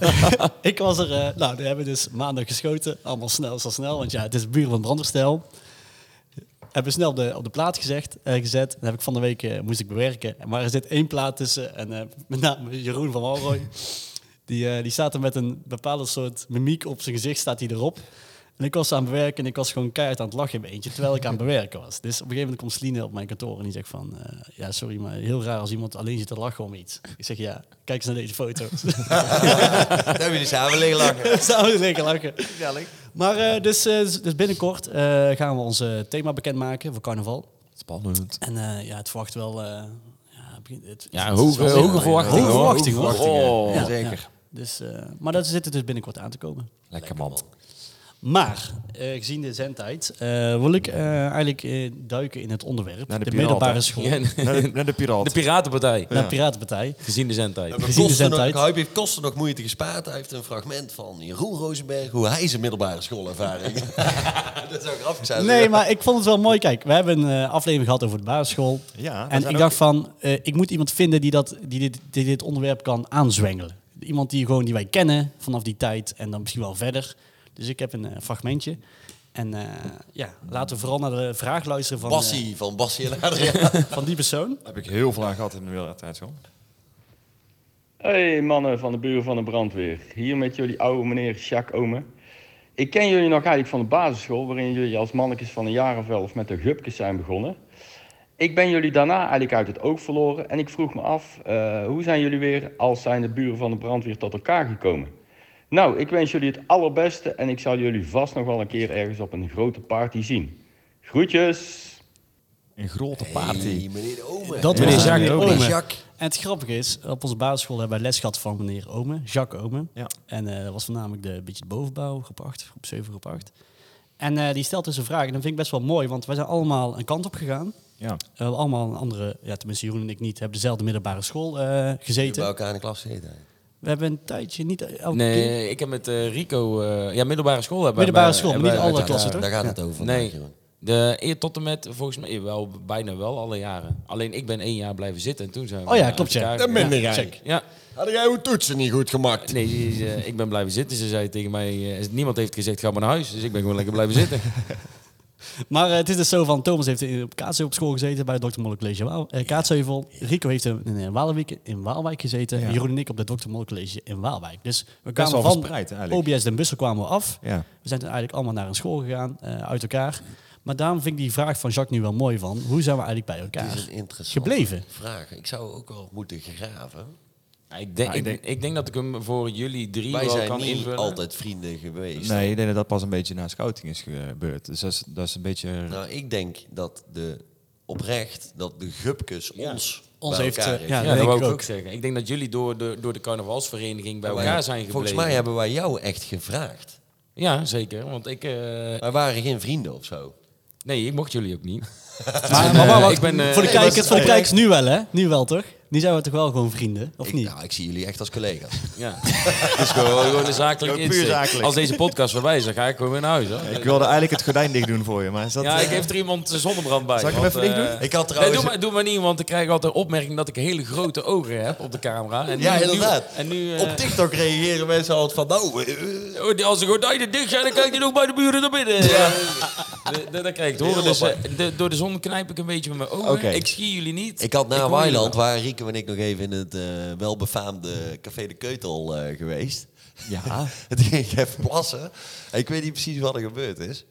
Speaker 3: eh, ik was er... eh, nou, die hebben we dus maandag geschoten. Allemaal snel, zo snel. Want ja, het is buren van Branderstel. Hebben we snel op de, op de plaat gezegd, eh, gezet. Dat heb ik van de week eh, moest ik bewerken. Maar er zit één plaat tussen. En eh, met name Jeroen van Walrooy. Die, eh, die staat er met een bepaalde soort mimiek op zijn gezicht, staat hij erop. En ik was aan het bewerken en ik was gewoon keihard aan het lachen in mijn eentje, terwijl ik aan het bewerken was. Dus op een gegeven moment komt Sline op mijn kantoor en die zegt van, eh, ja sorry, maar heel raar als iemand alleen zit te lachen om iets. Ik zeg ja, kijk eens naar deze foto.
Speaker 2: Daar hebben jullie samen liggen lachen.
Speaker 3: Zou lekker lachen. Maar eh, dus, eh, dus binnenkort eh, gaan we ons eh, thema bekendmaken voor carnaval.
Speaker 4: Spannend.
Speaker 3: En eh, ja, het verwacht wel... eh, ja, het begint- het-
Speaker 4: Ja,
Speaker 3: het is
Speaker 4: hoge,
Speaker 3: wel
Speaker 4: hoge,
Speaker 3: zin.
Speaker 4: verwachtingen.
Speaker 3: Hoge
Speaker 4: hoor.
Speaker 3: verwachtingen, hoor.
Speaker 4: Oh.
Speaker 3: Ja, ja. Dus, eh, maar dat zit er dus binnenkort aan te komen.
Speaker 5: Lekker man.
Speaker 3: Maar, eh, gezien de zendtijd, eh, wil ik eh, eigenlijk eh, duiken in het onderwerp.
Speaker 5: Naar de
Speaker 3: de
Speaker 5: piraten.
Speaker 3: middelbare school.
Speaker 4: Ja, nou
Speaker 5: Naar de, naar de piraat.
Speaker 4: De Piratenpartij.
Speaker 3: Naar de Piratenpartij.
Speaker 4: Gezien de zendtijd.
Speaker 2: We
Speaker 3: Gezien de
Speaker 2: kosten nog,
Speaker 3: zendtijd.
Speaker 2: Huip heeft kosten nog moeite gespaard. Hij heeft een fragment van Jeroen Rozenberg, hoe hij zijn middelbare schoolervaring. dat zou grappig zijn.
Speaker 3: Nee, maar ik vond het wel mooi. Kijk, we hebben een eh, aflevering gehad over de basisschool.
Speaker 5: Ja, daar
Speaker 3: en
Speaker 5: zijn
Speaker 3: ik dacht van, eh, ik moet iemand vinden die, dat, die, dit, die dit onderwerp kan aanzwengelen. Iemand die, gewoon, die wij kennen vanaf die tijd en dan misschien wel verder. Dus ik heb een eh, fragmentje. En eh, ja, laten we vooral naar de vraag luisteren van, eh,
Speaker 2: Bassie van Bassie en Adriaan.
Speaker 3: van die persoon.
Speaker 5: Daar heb ik heel veel aan gehad in de wereldtijd, joh.
Speaker 6: Hey mannen van de buren van de brandweer. Hier met jullie oude meneer Jacques Ome. Ik ken jullie nog eigenlijk van de basisschool, waarin jullie als mannetjes van een jaar of elf met de gupjes zijn begonnen. Ik ben jullie daarna eigenlijk uit het oog verloren en ik vroeg me af, eh, hoe zijn jullie weer als zijn de buren van de brandweer tot elkaar gekomen? Nou, ik wens jullie het allerbeste en ik zal jullie vast nog wel een keer ergens op een grote party zien. Groetjes!
Speaker 5: Een grote party.
Speaker 2: Hey, meneer de Ome.
Speaker 3: Dat
Speaker 5: Ja.
Speaker 3: was
Speaker 5: Meneer
Speaker 3: meneer
Speaker 5: Jacques
Speaker 3: Ome.
Speaker 2: Meneer Jacques.
Speaker 3: En het grappige is, op onze basisschool hebben wij les gehad van meneer Ome, Jacques Ome.
Speaker 5: Ja.
Speaker 3: En eh, dat was voornamelijk de, een beetje de bovenbouw, groep 8, groep 7, groep 8. En eh, die stelt dus een vraag en dat vind ik best wel mooi, want wij zijn allemaal een kant op gegaan. Eh,
Speaker 5: Ja.
Speaker 3: we hebben allemaal een andere, ja, tenminste Jeroen en ik niet, hebben dezelfde middelbare school eh,
Speaker 2: Die bij
Speaker 3: gezeten.
Speaker 2: elkaar in de klas zitten.
Speaker 3: We hebben een tijdje niet elke keer-
Speaker 4: Nee, ik heb met eh, Rico... eh, ja, middelbare school hebben
Speaker 3: Middelbare
Speaker 4: wij-
Speaker 3: school, maar
Speaker 4: hebben
Speaker 3: niet
Speaker 4: wij
Speaker 3: alle
Speaker 4: met
Speaker 3: klassen,
Speaker 2: Daar,
Speaker 4: elkaar-
Speaker 2: daar gaat het over.
Speaker 4: Nee,
Speaker 2: vandaag, jongen.
Speaker 4: de, eer tot en met volgens mij eh, wel, bijna wel alle jaren. Alleen ik ben één jaar blijven zitten en toen zijn we...
Speaker 3: Oh ja,
Speaker 4: eh,
Speaker 3: klopt,
Speaker 4: uit
Speaker 3: ja.
Speaker 4: elkaar
Speaker 2: Dat
Speaker 4: gegaan.
Speaker 2: ben ik.
Speaker 3: check.
Speaker 4: Ja,
Speaker 2: Had jij uw toetsen niet goed gemaakt?
Speaker 4: nee, ze- ze- ik ben blijven zitten. Ze zei tegen mij, eh, niemand heeft gezegd ga maar naar huis. Dus ik ben gewoon lekker blijven zitten.
Speaker 3: Maar eh, het is dus zo van, Thomas heeft in- op Kaatsheuvel op school gezeten bij het Dr. Molle College Waal- eh, Kaatsheuvel. Rico heeft in, in, Waalwijk, in Waalwijk gezeten.
Speaker 5: Ja.
Speaker 3: Jeroen en ik op het Dr. Molle College in Waalwijk. Dus we
Speaker 5: Best
Speaker 3: kwamen
Speaker 5: wel
Speaker 3: van
Speaker 5: verspreid, eigenlijk.
Speaker 3: OBS Den Bussel kwamen we af.
Speaker 5: Ja.
Speaker 3: We zijn toen eigenlijk allemaal naar een school gegaan, eh, uit elkaar. Maar daarom vind ik die vraag van Jacques nu wel mooi van, hoe zijn we eigenlijk bij
Speaker 2: Het is
Speaker 3: elkaar
Speaker 2: een interessante
Speaker 3: gebleven?
Speaker 2: vraag. Ik zou ook wel moeten graven.
Speaker 4: Ja, ik, denk,
Speaker 5: Maar ik
Speaker 4: ik, ik, denk dat ik hem voor jullie drie
Speaker 2: Wij
Speaker 4: wel
Speaker 2: zijn
Speaker 4: kan
Speaker 2: niet
Speaker 4: invullen.
Speaker 2: altijd vrienden geweest.
Speaker 5: Nee, ik denk dat dat pas een beetje na scouting is gebeurd. Dus dat is, dat is een beetje...
Speaker 2: Nou, ik denk dat de oprecht dat de Gupkes ons
Speaker 3: Ons
Speaker 2: bij
Speaker 3: heeft,
Speaker 2: elkaar
Speaker 3: eh,
Speaker 2: heeft.
Speaker 3: ja,
Speaker 4: Ja,
Speaker 3: dat
Speaker 4: dat
Speaker 3: denk
Speaker 4: wou
Speaker 3: ik
Speaker 4: ik ook.
Speaker 3: ook.
Speaker 4: zeggen. Ik denk dat jullie door de, door de carnavalsvereniging bij
Speaker 2: Wij-
Speaker 4: elkaar zijn gebleven.
Speaker 2: Volgens mij hebben wij jou echt gevraagd.
Speaker 4: Ja, zeker. Want ik... eh,
Speaker 2: Wij waren geen vrienden of zo.
Speaker 4: nee, ik mocht jullie ook niet.
Speaker 3: Maar, maar, maar,
Speaker 4: Eh,
Speaker 3: wat-
Speaker 4: ik ben, eh,
Speaker 3: voor de
Speaker 4: ik was-
Speaker 3: kijkers, voor de kijkers nu wel hè? Nu wel toch? Nu zijn we toch wel gewoon vrienden, of
Speaker 2: Ik,
Speaker 3: niet?
Speaker 2: nou, ik zie jullie echt als collega's.
Speaker 4: Ja. Het is gewoon, gewoon een zakelijk
Speaker 5: Puur
Speaker 4: insteek.
Speaker 5: zakelijk.
Speaker 4: Als deze podcast voorbij is, dan ga ik gewoon weer naar huis. Hoor.
Speaker 5: Ik wilde eigenlijk het gordijn dicht doen voor je, maar is dat... eh,
Speaker 4: Ja, ik heb er iemand zijn zonnebrand bij.
Speaker 5: Zal ik hem
Speaker 4: want,
Speaker 5: even dicht doen? Nou,
Speaker 4: eh,
Speaker 2: Ik had
Speaker 4: nee,
Speaker 2: trouwens-
Speaker 4: doe, maar, doe maar niet, want ik krijg altijd opmerking dat ik hele grote ogen heb op de camera. En
Speaker 2: Ja,
Speaker 4: nu-
Speaker 2: inderdaad.
Speaker 4: Nu, en nu... eh,
Speaker 2: Op TikTok reageren mensen altijd van, nou, eh, eh,
Speaker 4: Oh, die- Als de gordijnen dicht zijn, dan kijkt hij ook bij de buren naar binnen. Ja. Dat- Dat dat krijg ik te horen. Dus, eh, de- door de zon knijp ik een beetje met mijn ogen.
Speaker 5: Oké.
Speaker 4: Ik zie jullie niet.
Speaker 2: ik had
Speaker 4: Ik
Speaker 2: naar
Speaker 4: hoor jullie
Speaker 2: Weiland,
Speaker 4: wel.
Speaker 2: waar Rieke en ik nog even in het eh, welbefaamde Café de Keutel eh, geweest.
Speaker 5: Ja.
Speaker 2: En toen ging ik even plassen. En ik weet niet precies wat er gebeurd is.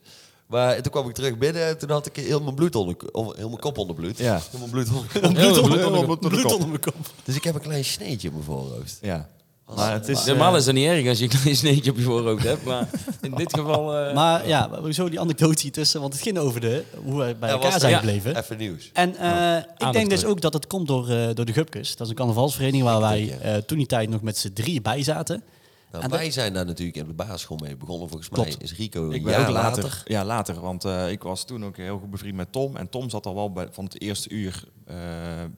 Speaker 2: Maar toen kwam ik terug binnen en toen had ik heel mijn, bloed onder, of heel mijn kop onder bloed.
Speaker 5: Ja.
Speaker 2: Heel mijn bloed onder-
Speaker 4: Heel de bloed onder-
Speaker 3: Bloed onder mijn kop.
Speaker 2: Dus ik heb een klein sneetje op mijn voorhoofd.
Speaker 5: Ja. Maar het is... eh,
Speaker 4: Normaal is dat niet erg als je een klein sneetje op je voorhoofd hebt. Maar in dit geval... eh,
Speaker 3: Maar ja, hoezo die anekdote hier tussen? Want het ging over de, hoe wij bij
Speaker 2: Ja, was
Speaker 3: elkaar
Speaker 2: er-
Speaker 3: zijn
Speaker 4: ja.
Speaker 3: gebleven.
Speaker 2: Even nieuws.
Speaker 3: En eh,
Speaker 2: Nou,
Speaker 3: ik denk dus
Speaker 4: terug.
Speaker 3: ook dat het komt door, eh, door de Gupkes. Dat is een carnavalsvereniging waar wij eh, toen die tijd nog met z'n drieën bij zaten.
Speaker 2: Nou,
Speaker 3: En dat-
Speaker 2: wij zijn daar natuurlijk op de basisschool mee begonnen. Volgens mij
Speaker 3: Klopt.
Speaker 2: is Rico een
Speaker 5: Ik ben
Speaker 2: jaar
Speaker 5: ook
Speaker 2: later.
Speaker 5: later. Ja, later. Want eh, ik was toen ook heel goed bevriend met Tom. En Tom zat al wel bij, van het eerste uur eh,
Speaker 2: Ja,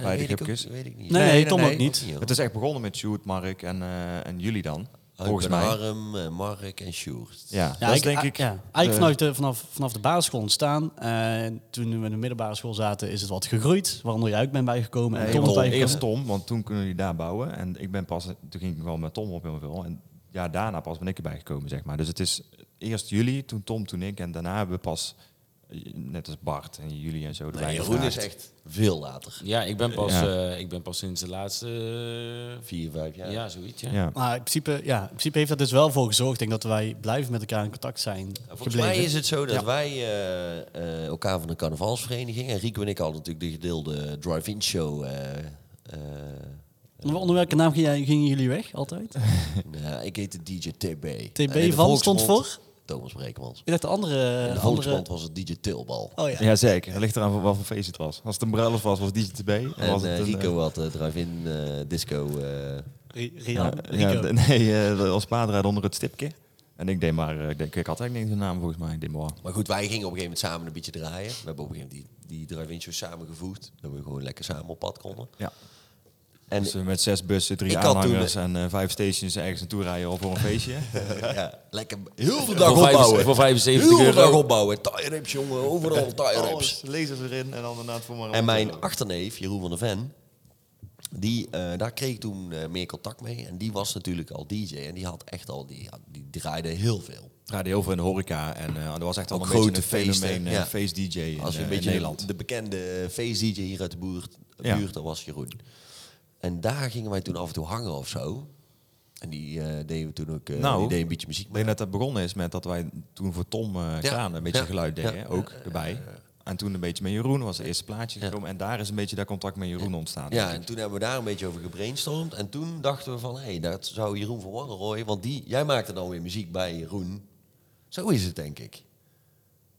Speaker 5: bij de
Speaker 2: weet ik ook-
Speaker 5: Gupkes.
Speaker 2: weet ik niet.
Speaker 3: Nee, nee, Tom ook niet.
Speaker 2: joh.
Speaker 5: Het is echt begonnen met Sjoerd, Mark en, eh, en jullie dan.
Speaker 2: Oh,
Speaker 5: volgens
Speaker 2: ik ben
Speaker 5: mij.
Speaker 2: Harm, eh, Mark en Sjoerd.
Speaker 5: Ja,
Speaker 3: Ja,
Speaker 5: dat is
Speaker 3: ik-
Speaker 5: denk
Speaker 3: a-
Speaker 5: ik...
Speaker 3: ja.
Speaker 5: de-
Speaker 2: eh,
Speaker 3: Eigenlijk vanuit de, vanaf, vanaf de basisschool ontstaan. Eh, en toen we in de middelbare school zaten, is het wat gegroeid. Waaronder jij ook bent bijgekomen. en
Speaker 5: Nee,
Speaker 3: Tom is
Speaker 5: want
Speaker 3: bijgekomen.
Speaker 5: eerst Tom, want toen kunnen jullie daar bouwen. En ik ben pas, toen ging ik wel met Tom op heel veel. En ja, daarna pas ben ik erbij gekomen, zeg maar. Dus het is eerst jullie, toen Tom, toen ik. En daarna hebben we pas, eh, net als Bart en jullie en zo erbij
Speaker 2: Nee, Jeroen is
Speaker 5: gevraagd.
Speaker 2: echt veel later.
Speaker 4: Ja, ik ben pas,
Speaker 5: Ja.
Speaker 4: eh, ik ben pas sinds de laatste... eh,
Speaker 2: Vier, vijf jaar.
Speaker 4: ja. zoiets, ja.
Speaker 5: Ja.
Speaker 3: Maar in principe, ja, in principe heeft dat dus wel voor gezorgd. Ik denk dat wij blijven met elkaar in contact zijn
Speaker 2: Volgens
Speaker 3: gebleven.
Speaker 2: mij is het zo dat wij eh, eh, elkaar van de carnavalsvereniging... en Rico en ik hadden natuurlijk de gedeelde drive-in show... eh, eh,
Speaker 3: Onder, onder welke naam ging jij- gingen jullie weg altijd?
Speaker 2: nou, ik heette DJ TB.
Speaker 3: TB
Speaker 2: En in de
Speaker 3: van stond
Speaker 2: volksmond-
Speaker 3: voor?
Speaker 2: Thomas Breekmans.
Speaker 3: Ik dacht de andere...
Speaker 2: In
Speaker 3: andere...
Speaker 2: de volksmond was het DJ Tilbal.
Speaker 3: Oh ja.
Speaker 5: Ja, zeker. Het ligt eraan van wat voor feest het was. Als het een bruiloft was, was DJ TB. En
Speaker 2: En
Speaker 5: was het
Speaker 2: eh,
Speaker 5: een,
Speaker 2: Rico had eh, drive-in eh, disco... eh,
Speaker 3: Ri-
Speaker 5: eh,
Speaker 3: Rian,
Speaker 5: ja,
Speaker 3: Rico.
Speaker 5: d- nee, eh als paardrijder onder het stipje. En ik deed maar, eh, ik denk, ik had eigenlijk niet zo'n naam volgens mij. Ik deed maar,
Speaker 2: Maar goed, wij gingen op een gegeven moment samen een beetje draaien. We hebben op een gegeven moment die, die drive-in show samengevoegd. Dat we gewoon lekker samen op pad konden.
Speaker 5: ja.
Speaker 2: En
Speaker 5: Dus eh, met zes bussen, drie
Speaker 2: Ik had toen,
Speaker 5: aanhangers en eh, vijf stations ergens naartoe rijden of voor een feestje.
Speaker 2: ja, lekker heel de dag
Speaker 4: Voor, vijf,
Speaker 2: opbouwen.
Speaker 4: voor
Speaker 2: heel
Speaker 4: 75
Speaker 2: de dag
Speaker 4: euro.
Speaker 2: opbouwen. Tire rips, jongen. Overal tire rips.
Speaker 5: lasers erin en dan inderdaad voor maar
Speaker 2: En mijn achterneef, Jeroen van der Ven... Die, eh, daar kreeg ik toen eh, meer contact mee. En die was natuurlijk al DJ. En die had echt al... Die, die draaide heel veel.
Speaker 5: draaide heel veel in de horeca en eh dat was echt al
Speaker 2: Ook
Speaker 5: een beetje
Speaker 2: grote
Speaker 5: een fenomeen,
Speaker 2: feesten,
Speaker 5: eh,
Speaker 2: ja.
Speaker 5: feest-dj in,
Speaker 2: Als
Speaker 5: eh,
Speaker 2: een
Speaker 5: in
Speaker 2: beetje
Speaker 5: Nederland.
Speaker 2: De, de bekende feest DJ hier uit de buurt,
Speaker 5: Ja.
Speaker 2: buurt, dat was Jeroen. En daar gingen wij toen af en toe hangen of zo. En die eh, deden we toen ook eh,
Speaker 5: Nou,
Speaker 2: die deden een beetje muziek
Speaker 5: Ik
Speaker 2: mee.
Speaker 5: denk dat dat begonnen is met dat wij toen voor Tom eh Kraan een beetje
Speaker 2: ja,
Speaker 5: geluid deden,
Speaker 2: ja.
Speaker 5: ook erbij. En toen een beetje met Jeroen, was het eerste plaatje gekomen. En daar is een beetje dat contact met Jeroen ontstaan.
Speaker 2: Ja, en toen hebben we daar een beetje over gebrainstormd. En toen dachten we van, hé, hey, dat zou Jeroen van Wangerooy... Want die, jij maakte dan weer muziek bij Jeroen. Zo is het, denk ik.